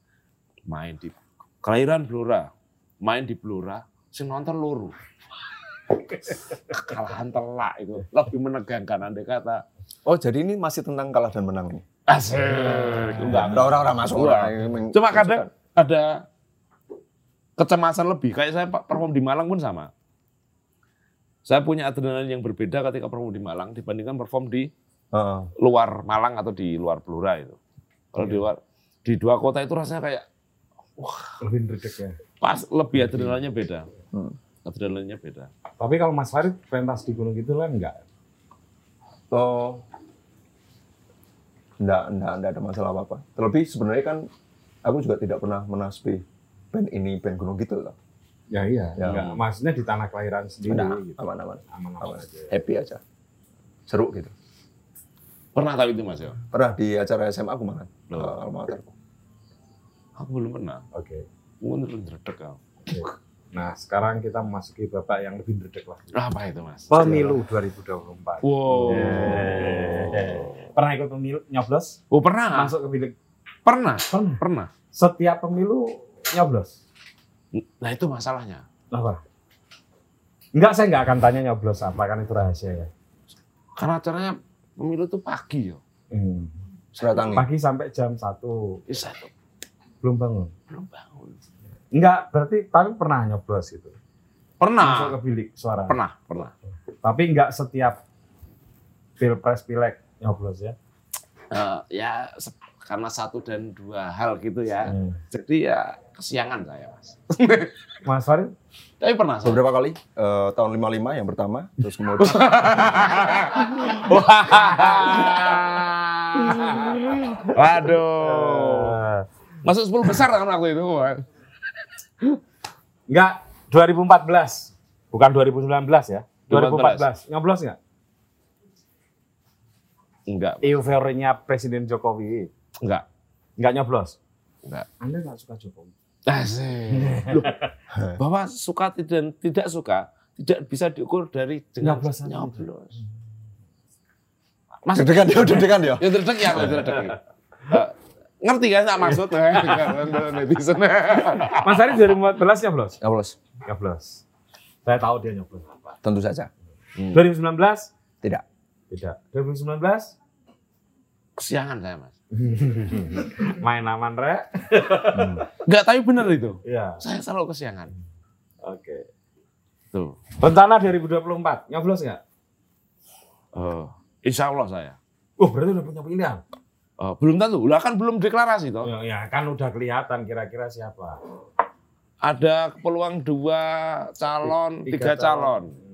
Speaker 3: main di kelahiran Blora main di Blora sing nonton loro kekalahan telak itu lebih menegangkan andai kata
Speaker 2: Oh, jadi ini masih tentang kalah dan menang ini.
Speaker 3: asik enggak
Speaker 2: Enggak orang-orang masuk
Speaker 3: Enggak.
Speaker 2: orang.
Speaker 3: cuma kadang ada kecemasan lebih kayak saya Pak, perform di Malang pun sama saya punya adrenalin yang berbeda ketika perform di Malang dibandingkan perform di
Speaker 2: Heeh.
Speaker 3: luar Malang atau di luar Blora itu kalau di luar di dua kota itu rasanya kayak
Speaker 1: Lebih ndredeg ya.
Speaker 3: pas lebih adrenalinnya beda
Speaker 2: Iya, Hmm.
Speaker 3: adrenalinnya beda
Speaker 1: Tapi kalau Mas Farid pentas di Gunung Kidul kan enggak.
Speaker 2: Oh. Enggak, enggak, enggak ada masalah apa-apa. Terlebih sebenarnya kan aku juga tidak pernah menasbih band ini band gunung gitu loh.
Speaker 1: Ya iya,
Speaker 2: Ya.
Speaker 1: enggak. Maksudnya di tanah kelahiran sendiri
Speaker 2: Enggak,
Speaker 1: gitu.
Speaker 2: aman-aman.
Speaker 1: Aman-aman
Speaker 2: aman.
Speaker 1: aja.
Speaker 2: Happy aja. Seru gitu.
Speaker 3: pernah tahu itu mas ya
Speaker 2: Pernah di acara SMA aku malah.
Speaker 3: Loh.
Speaker 2: eh, alma materku.
Speaker 3: aku belum pernah kan
Speaker 1: Oke.
Speaker 3: Mungkin redek kau.
Speaker 1: Nah, sekarang kita memasuki babak yang lebih ndredeg lagi.
Speaker 3: Apa itu mas?
Speaker 1: Pemilu 2024.
Speaker 3: Wow.
Speaker 2: Iya.
Speaker 1: Yeah. Pernah ikut pemilu nyoblos?
Speaker 3: Oh pernah?
Speaker 1: Masuk ke bilik
Speaker 3: Pernah,
Speaker 1: pernah.
Speaker 3: pernah.
Speaker 1: Setiap pemilu nyoblos.
Speaker 3: Nah itu masalahnya.
Speaker 1: Apa? Enggak, saya enggak akan tanya nyoblos apa kan itu rahasia ya.
Speaker 3: Karena acaranya pemilu itu pagi yo.
Speaker 1: Hmm.
Speaker 2: Surat tangi.
Speaker 1: Pagi sampai jam 1
Speaker 3: Ya saya tuh
Speaker 1: belum bangun.
Speaker 3: belum bangun.
Speaker 1: Enggak, berarti tapi pernah nyoblos gitu. Masuk
Speaker 3: Pernah,
Speaker 1: ke bilik suara.
Speaker 3: pernah, pernah.
Speaker 1: Tapi enggak setiap pilpres pileg nyoblos ya.
Speaker 3: Eh, ya se- karena satu dan dua hal gitu ya.
Speaker 1: Hmm.
Speaker 3: Jadi ya kesiangan saya mas.
Speaker 1: Mas Farid,
Speaker 3: Tapi pernah. saya.
Speaker 2: Beberapa kali eh, tahun 55 yang pertama, terus kemudian
Speaker 3: Waduh.
Speaker 1: eh,
Speaker 3: Masuk 10 besar kan aku itu.
Speaker 1: enggak 2014. Bukan 2019 ya. 2014.
Speaker 3: 2014.
Speaker 1: Nyoblos enggak?
Speaker 3: Enggak,
Speaker 1: E Euforinya Presiden Jokowi.
Speaker 3: enggak,
Speaker 1: Enggak nyoblos.
Speaker 3: enggak.
Speaker 1: Anda enggak suka Jokowi.
Speaker 3: Asik. Loh, bahwa suka dan tidak suka tidak bisa diukur dari dengan
Speaker 1: Nyoblos aja.
Speaker 3: nyoblos. Mas,
Speaker 2: deg-degan ya, deg-degan ya.
Speaker 3: ya terdek ya, aku terdek. Eh, ngerti kan tak maksud? Eh, netizen.
Speaker 1: Mas Farid 2014 nyoblos?
Speaker 2: Nyoblos,
Speaker 1: Nyoblos. Saya tahu dia nyoblos.
Speaker 2: tentu saja.
Speaker 3: Hmm.
Speaker 1: 2019
Speaker 2: Tidak.
Speaker 1: tidak. 2019
Speaker 3: Kesiangan saya mas.
Speaker 1: main aman rek.
Speaker 3: Enggak, tapi benar itu.
Speaker 1: Iya.
Speaker 3: Saya selalu kesiangan.
Speaker 1: Oke.
Speaker 3: Tuh.
Speaker 1: Rencana 2024 nyoblos nggak?
Speaker 3: Eh, insya Allah saya.
Speaker 1: Oh berarti udah punya pilihan.
Speaker 3: Eh, belum tentu, lah kan belum deklarasi toh.
Speaker 1: Ya, ya, kan udah kelihatan kira-kira siapa.
Speaker 3: Ada peluang dua calon, tiga, calon.
Speaker 1: Hmm.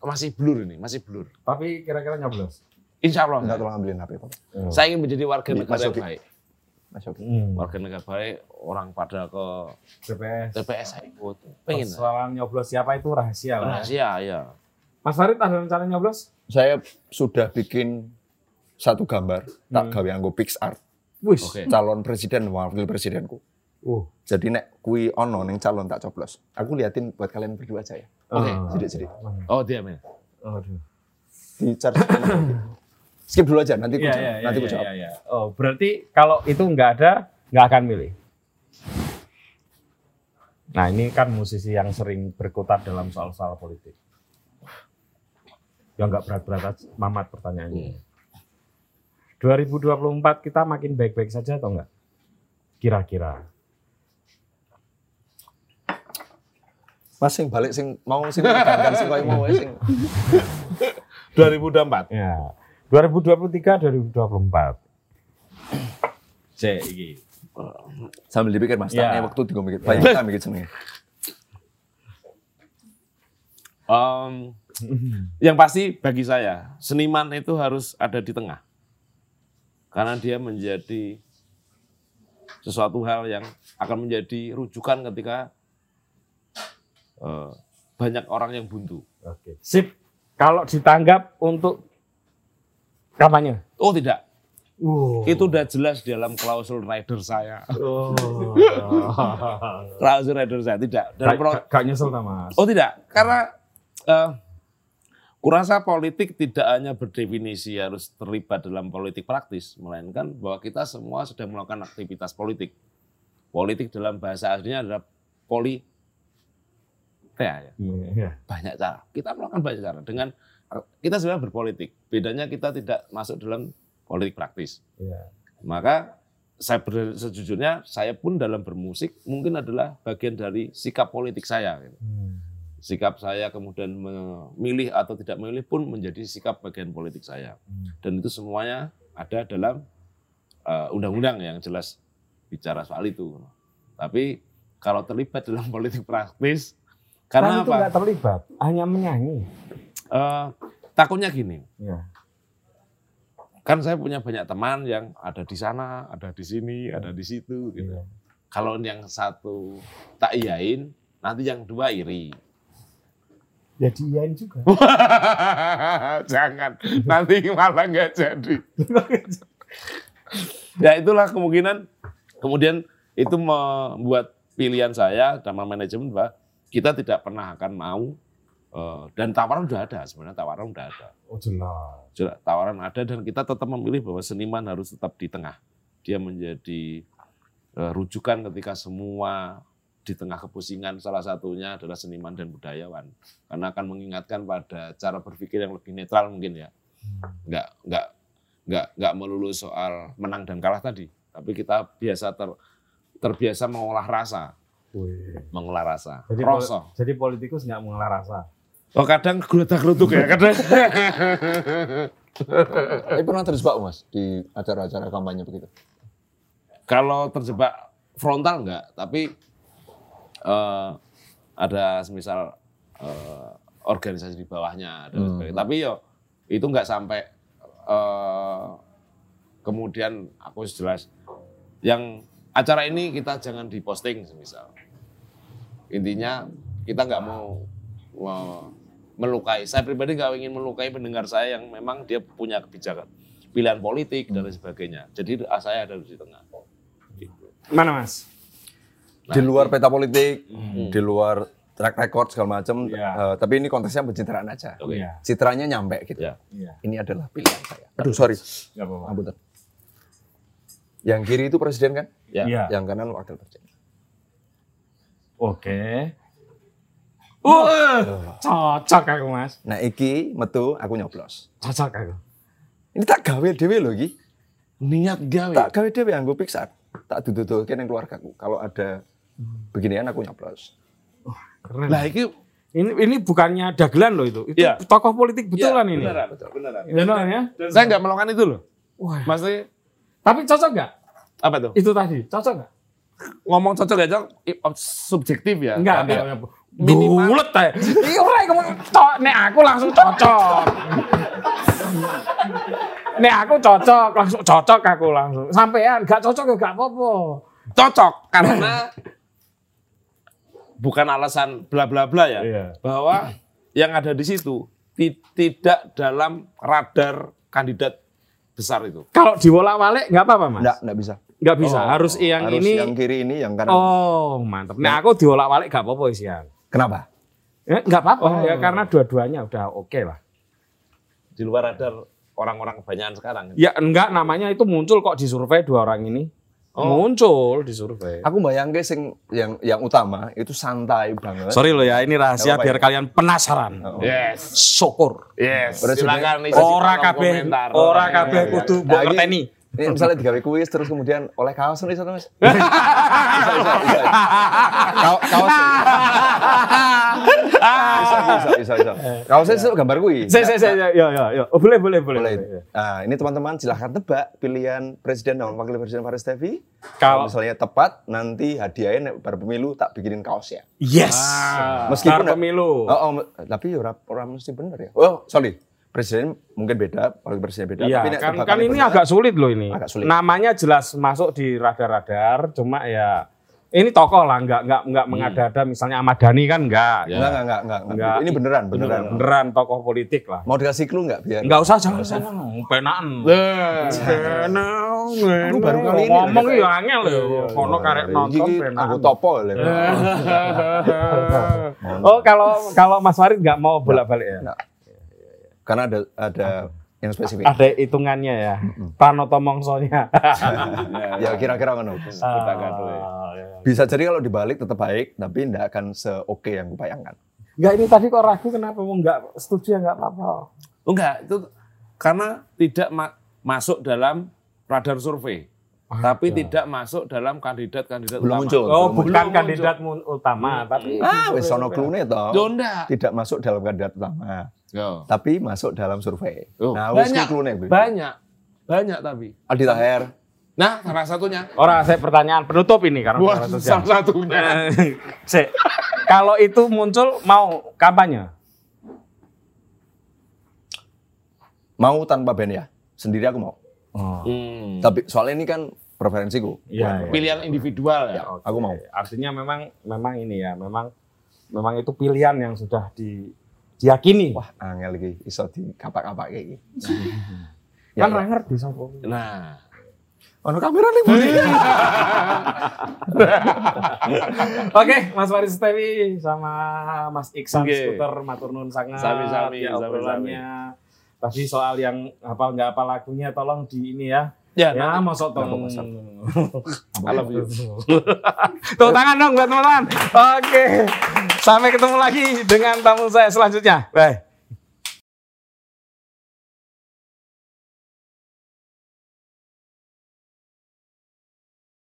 Speaker 3: Masih blur ini, masih blur.
Speaker 1: Tapi kira-kira nyoblos.
Speaker 3: Insya Allah.
Speaker 2: Enggak
Speaker 3: enggak.
Speaker 2: tolong ambilin HP, Pak.
Speaker 1: Oh.
Speaker 3: Saya ingin menjadi warga
Speaker 2: Di-
Speaker 3: negara yang
Speaker 2: masukin.
Speaker 3: baik.
Speaker 2: Mas Yogi.
Speaker 1: Hmm.
Speaker 3: Warga negara baik, orang pada ke
Speaker 1: TPS.
Speaker 3: TPS saya ikut. Pengen.
Speaker 1: Persoalan nyoblos siapa itu rahasia lah. ya.
Speaker 3: Rahasia, ya.
Speaker 1: Mas Farid ada rencana nyoblos?
Speaker 2: Saya sudah bikin satu gambar tak
Speaker 1: Hmm.
Speaker 2: gawe anggo PixArt
Speaker 1: Wih.
Speaker 3: Oke.
Speaker 2: calon presiden wakil presidenku.
Speaker 1: Uh.
Speaker 2: Jadi nek kui ono ning calon tak coblos. Aku liatin buat kalian berdua aja ya.
Speaker 3: Oke.
Speaker 1: Ah.
Speaker 2: Jadi-jadi.
Speaker 3: Oh, dia men.
Speaker 1: Aduh.
Speaker 2: Di charge. Skip dulu aja nanti ku
Speaker 1: Iya,
Speaker 2: jawab.
Speaker 1: iya, iya,
Speaker 2: nanti ku
Speaker 1: iya,
Speaker 2: jawab.
Speaker 1: iya, iya. Oh, berarti kalau itu nggak ada, nggak akan milih. Nah, ini kan musisi yang sering berkutat dalam soal-soal politik. Ya nggak berat-berat aja, mamat
Speaker 2: Hmm.
Speaker 1: pertanyaannya. 2024 kita makin baik-baik saja atau enggak? Kira-kira. iya.
Speaker 2: Mas sing balik sing mau sing gangan sing koyo mau sing.
Speaker 3: 2004.
Speaker 1: Ya. 2023, 2024. C, iki.
Speaker 2: Sambil dipikir Mas,
Speaker 1: Iya.
Speaker 2: tak waktu tiga mikir. Banyak tak mikir jenenge.
Speaker 3: Em, yang pasti bagi saya, seniman itu harus ada di tengah. Karena dia menjadi sesuatu hal yang akan menjadi rujukan ketika eh, banyak orang yang buntu.
Speaker 1: Oke. Sip. Kalau ditanggap untuk kampanye.
Speaker 3: Oh tidak,
Speaker 1: Uh.
Speaker 3: itu udah jelas di dalam klausul rider saya.
Speaker 1: Oh.
Speaker 3: Klausul rider saya tidak.
Speaker 1: Gak,
Speaker 3: Dalam pro-
Speaker 1: gak, gak nyesel ta, Mas?
Speaker 3: Oh tidak, karena eh, kurasa politik tidak hanya berdefinisi harus terlibat dalam politik praktis, melainkan bahwa kita semua sedang melakukan aktivitas politik. Politik dalam bahasa aslinya adalah poli ya, ya,
Speaker 1: Iya.
Speaker 3: banyak cara. Kita melakukan banyak cara dengan kita sebenarnya berpolitik. Bedanya kita tidak masuk dalam politik praktis.
Speaker 1: Iya.
Speaker 3: Maka saya ber- sejujurnya saya pun dalam bermusik mungkin adalah bagian dari sikap politik saya. gitu sikap saya kemudian memilih atau tidak memilih pun menjadi sikap bagian politik saya.
Speaker 1: Hmm.
Speaker 3: Dan itu semuanya ada dalam eh, undang-undang yang jelas bicara soal itu. Tapi kalau terlibat dalam politik praktis,
Speaker 1: Karena
Speaker 3: karena
Speaker 1: itu
Speaker 3: apa?
Speaker 1: nggak terlibat, hanya menyanyi.
Speaker 3: Eh, takutnya gini,
Speaker 1: Iya.
Speaker 3: kan saya punya banyak teman yang ada di sana, ada di sini, ada di situ. Gitu.
Speaker 1: Iya.
Speaker 3: Kalau yang satu tak iyain, nanti yang dua iri.
Speaker 1: Ya diiyain juga.
Speaker 3: Jangan, nanti malah nggak jadi. ya itulah kemungkinan. Kemudian itu membuat pilihan saya sama manajemen bahwa kita tidak pernah akan mau eh, dan tawaran sudah ada sebenarnya tawaran sudah ada
Speaker 1: Oh jelas.
Speaker 3: Sudah- tawaran ada dan kita tetap memilih bahwa seniman harus tetap di tengah dia menjadi eh, rujukan ketika semua di tengah kepusingan salah satunya adalah seniman dan budayawan karena akan mengingatkan pada cara berpikir yang lebih netral mungkin ya nggak nggak nggak nggak melulu soal menang dan kalah tadi tapi kita biasa ter- terbiasa mengolah rasa
Speaker 1: Wih.
Speaker 3: mengolah rasa
Speaker 1: Jadi, pol-
Speaker 3: rasa
Speaker 1: jadi politikus nggak mengelar rasa.
Speaker 3: oh kadang gerudak gerutuk ya kadang
Speaker 2: Tapi pernah terjebak Mas di acara-acara kampanye begitu.
Speaker 3: Kalau terjebak frontal enggak, tapi eh, ada semisal eh, organisasi di bawahnya dan lain sebagainya. Tapi yo itu enggak sampai eh, kemudian aku jelas yang acara ini kita jangan diposting semisal. Intinya kita enggak mau, mau melukai. Saya pribadi enggak ingin melukai pendengar saya yang memang dia punya kebijakan pilihan politik dan lain sebagainya. Jadi ah, saya ada di tengah.
Speaker 1: Mana Mas? Nah,
Speaker 2: Di luar peta politik, di luar track record segala macam,
Speaker 1: Hmm. Iya.
Speaker 2: eh, tapi ini kontesnya pencitraan aja.
Speaker 3: Oke.
Speaker 1: Iya.
Speaker 2: Citranya nyampe gitu.
Speaker 3: Ya.
Speaker 1: Iya.
Speaker 2: Ini adalah pilihan saya. Aduh, sorry.
Speaker 1: Nggak apa-apa.
Speaker 2: Amputan. Yang kiri itu presiden kan?
Speaker 3: Ya.
Speaker 1: Iya.
Speaker 2: Yang kanan wakil presiden.
Speaker 1: Oke. Uh, cocok aku Mas.
Speaker 2: Nah, iki metu aku nyoblos.
Speaker 1: Cocok aku.
Speaker 2: Ini tak gawe dhewe lho iki.
Speaker 3: Niat gawe.
Speaker 2: Tak gawe dhewe anggo Pixar. Tak dududoke ning keluargaku. Kalau ada beginian aku nyoblos.
Speaker 1: Keren.
Speaker 3: Lah iki
Speaker 1: Ini ini bukannya dagelan loh itu. Itu
Speaker 3: Iya.
Speaker 1: tokoh politik betulan ini.
Speaker 3: Beneran, beneran.
Speaker 1: Beneran ya.
Speaker 3: Dan saya nggak melakukan itu loh.
Speaker 1: Wah.
Speaker 3: Maksudnya
Speaker 1: Tapi cocok nggak?
Speaker 3: apa tuh?
Speaker 1: Itu tadi cocok nggak?
Speaker 3: Ngomong cocok gak cocok i- oh, subjektif ya.
Speaker 1: Enggak,
Speaker 3: Tapi-
Speaker 1: enggak.
Speaker 3: Minimal.
Speaker 1: Bulet ae. Iya ora iku cocok nek aku langsung cocok. nek aku cocok, langsung cocok aku langsung. Sampean gak cocok ya gak apa-apa.
Speaker 3: Cocok karena bukan alasan bla bla bla ya.
Speaker 1: Iya.
Speaker 3: Bahwa yang ada di situ ti- tidak dalam radar kandidat besar itu.
Speaker 1: Kalau diwolak-walik nggak apa-apa, Mas.
Speaker 2: Enggak, enggak bisa.
Speaker 1: Nggak bisa, Oh, harus yang
Speaker 2: Harus
Speaker 1: ini.
Speaker 2: yang kiri ini yang kanan.
Speaker 1: Oh, mantap. Nek aku diwolak-walik gak apa-apa isian.
Speaker 2: Kenapa?
Speaker 1: Ya, nggak apa-apa ya karena dua-duanya udah oke lah.
Speaker 3: Di luar radar orang-orang kebanyakan sekarang.
Speaker 1: Ya enggak namanya itu muncul kok di survei dua orang ini. Muncul di survei.
Speaker 2: Aku bayangke sing yang yang utama itu santai banget.
Speaker 1: Sorry loh ya, ini rahasia
Speaker 2: Nggak apa-apa
Speaker 1: biar
Speaker 2: ya.
Speaker 1: kalian penasaran.
Speaker 3: Yes.
Speaker 1: Syukur.
Speaker 3: Yes.
Speaker 2: Presiden-
Speaker 3: Silakan isi
Speaker 1: Ora
Speaker 3: kolom
Speaker 1: kabeh,
Speaker 3: komentar.
Speaker 1: ora kabeh kudu mbok
Speaker 2: Nah, ini-
Speaker 1: ngerteni.
Speaker 2: Ini misalnya digawe kuis terus kemudian oleh kaos nih satu mas. Kaos kaos bisa bisa bisa bisa. Kaosnya itu gambar kuis.
Speaker 1: Saya saya saya ya ya ya. Oh, boleh boleh boleh.
Speaker 2: Boleh.
Speaker 1: boleh.
Speaker 2: Nah, ini teman-teman silahkan tebak pilihan presiden dan wakil presiden Faris Tevi.
Speaker 1: Kalau-
Speaker 2: Kalau misalnya tepat, nanti hadiahnya nek bar pemilu tak bikinin ya. kaosnya.
Speaker 1: Yes. Ah, Meskipun
Speaker 2: Meskipun
Speaker 1: pemilu.
Speaker 2: Oh, oh, me- tapi ora ora mesti bener ya. Oh, sorry. Presiden mungkin beda, wakil presiden beda.
Speaker 1: Iya,
Speaker 2: ya, tapi nek
Speaker 1: kan,
Speaker 2: tebakannya
Speaker 1: kan ini
Speaker 2: bener,
Speaker 1: agak sulit loh ini.
Speaker 2: Agak sulit.
Speaker 1: Namanya jelas masuk di radar-radar, cuma ya ini tokoh lah, nggak nggak nggak mengada-ada. Misalnya Ahmad Dhani kan nggak,
Speaker 2: Enggak,
Speaker 3: Ya.
Speaker 2: enggak, enggak, enggak, enggak.
Speaker 1: Enggak.
Speaker 2: Ini beneran, beneran.
Speaker 1: beneran tokoh politik lah.
Speaker 2: Mau dikasih clue enggak biar?
Speaker 1: Nggak usah, jangan jangan penaan. Lu
Speaker 2: baru kali ini
Speaker 1: ngomong
Speaker 2: loh,
Speaker 1: ya angel lho, kono karek nonton
Speaker 2: Iki
Speaker 1: penaan.
Speaker 2: Aku topo lho.
Speaker 1: Oh kalau kalau Mas Farid nggak mau bolak balik ya?
Speaker 2: Karena ada ada yang spesifik.
Speaker 1: Ada hitungannya ya, Pranoto Mongsonya.
Speaker 2: Ah, Ya kira-kira ngono.
Speaker 1: Kita ya.
Speaker 2: Bisa jadi kalau dibalik tetap baik, tapi enggak akan seoke yang kupayangkan.
Speaker 1: Enggak ini tadi kok ragu kenapa mau nggak setuju ya nggak apa-apa.
Speaker 3: Oh, Enggak, itu karena tidak ma- masuk dalam radar survei. Tapi tidak masuk dalam kandidat-kandidat
Speaker 2: Belum
Speaker 3: utama.
Speaker 2: muncul.
Speaker 1: Oh
Speaker 2: belum
Speaker 1: bukan
Speaker 3: muncul.
Speaker 1: kandidat mun- utama tapi
Speaker 2: muncul. Ah, wis ono clue-ne to.
Speaker 3: Yo, enggak.
Speaker 2: Tidak masuk dalam kandidat utama,
Speaker 3: Yo.
Speaker 2: tapi masuk dalam survei.
Speaker 3: Oh,
Speaker 2: Nah, wis
Speaker 3: banyak,
Speaker 2: ki clue-ne. Bu.
Speaker 3: banyak, banyak tapi.
Speaker 2: Aldi Taher.
Speaker 3: Nah, salah satunya.
Speaker 1: Orang saya pertanyaan penutup ini karena
Speaker 3: Wah,
Speaker 1: udah satu jam.
Speaker 3: salah satunya.
Speaker 1: Sik. Kalau itu muncul mau kampanye?
Speaker 2: Mau tanpa band ya? Sendiri aku mau. Oh.
Speaker 3: Hmm.
Speaker 2: Tapi soalnya ini kan preferensiku.
Speaker 1: Iya.
Speaker 3: Pilihan individual ya.
Speaker 1: Oke.
Speaker 2: Aku mau.
Speaker 1: Artinya memang memang ini ya, memang memang itu pilihan yang sudah di diyakini. Wah,
Speaker 2: Angel iki iso di kapak-kapak iki. Ya, iya,
Speaker 1: kan ra ngerti sapa.
Speaker 3: Nah,
Speaker 2: Ono kamera nih, Bu.
Speaker 1: Oke, Mas Faris Tewi sama Mas Iksan
Speaker 3: Oke.
Speaker 1: Skuter matur nuwun sangat
Speaker 3: Sami-sami,
Speaker 1: ya
Speaker 3: sami-sami.
Speaker 1: obrolannya. Tadi soal yang apa nggak apa lagunya tolong di ini ya.
Speaker 3: ya,
Speaker 1: Ya,
Speaker 3: nah,
Speaker 1: masuk
Speaker 2: apa,
Speaker 1: tolong. iya.
Speaker 2: Mas?
Speaker 3: I love you.
Speaker 1: Tepuk tangan dong buat teman-teman. Oke. Sampai ketemu lagi dengan tamu saya selanjutnya. Bye.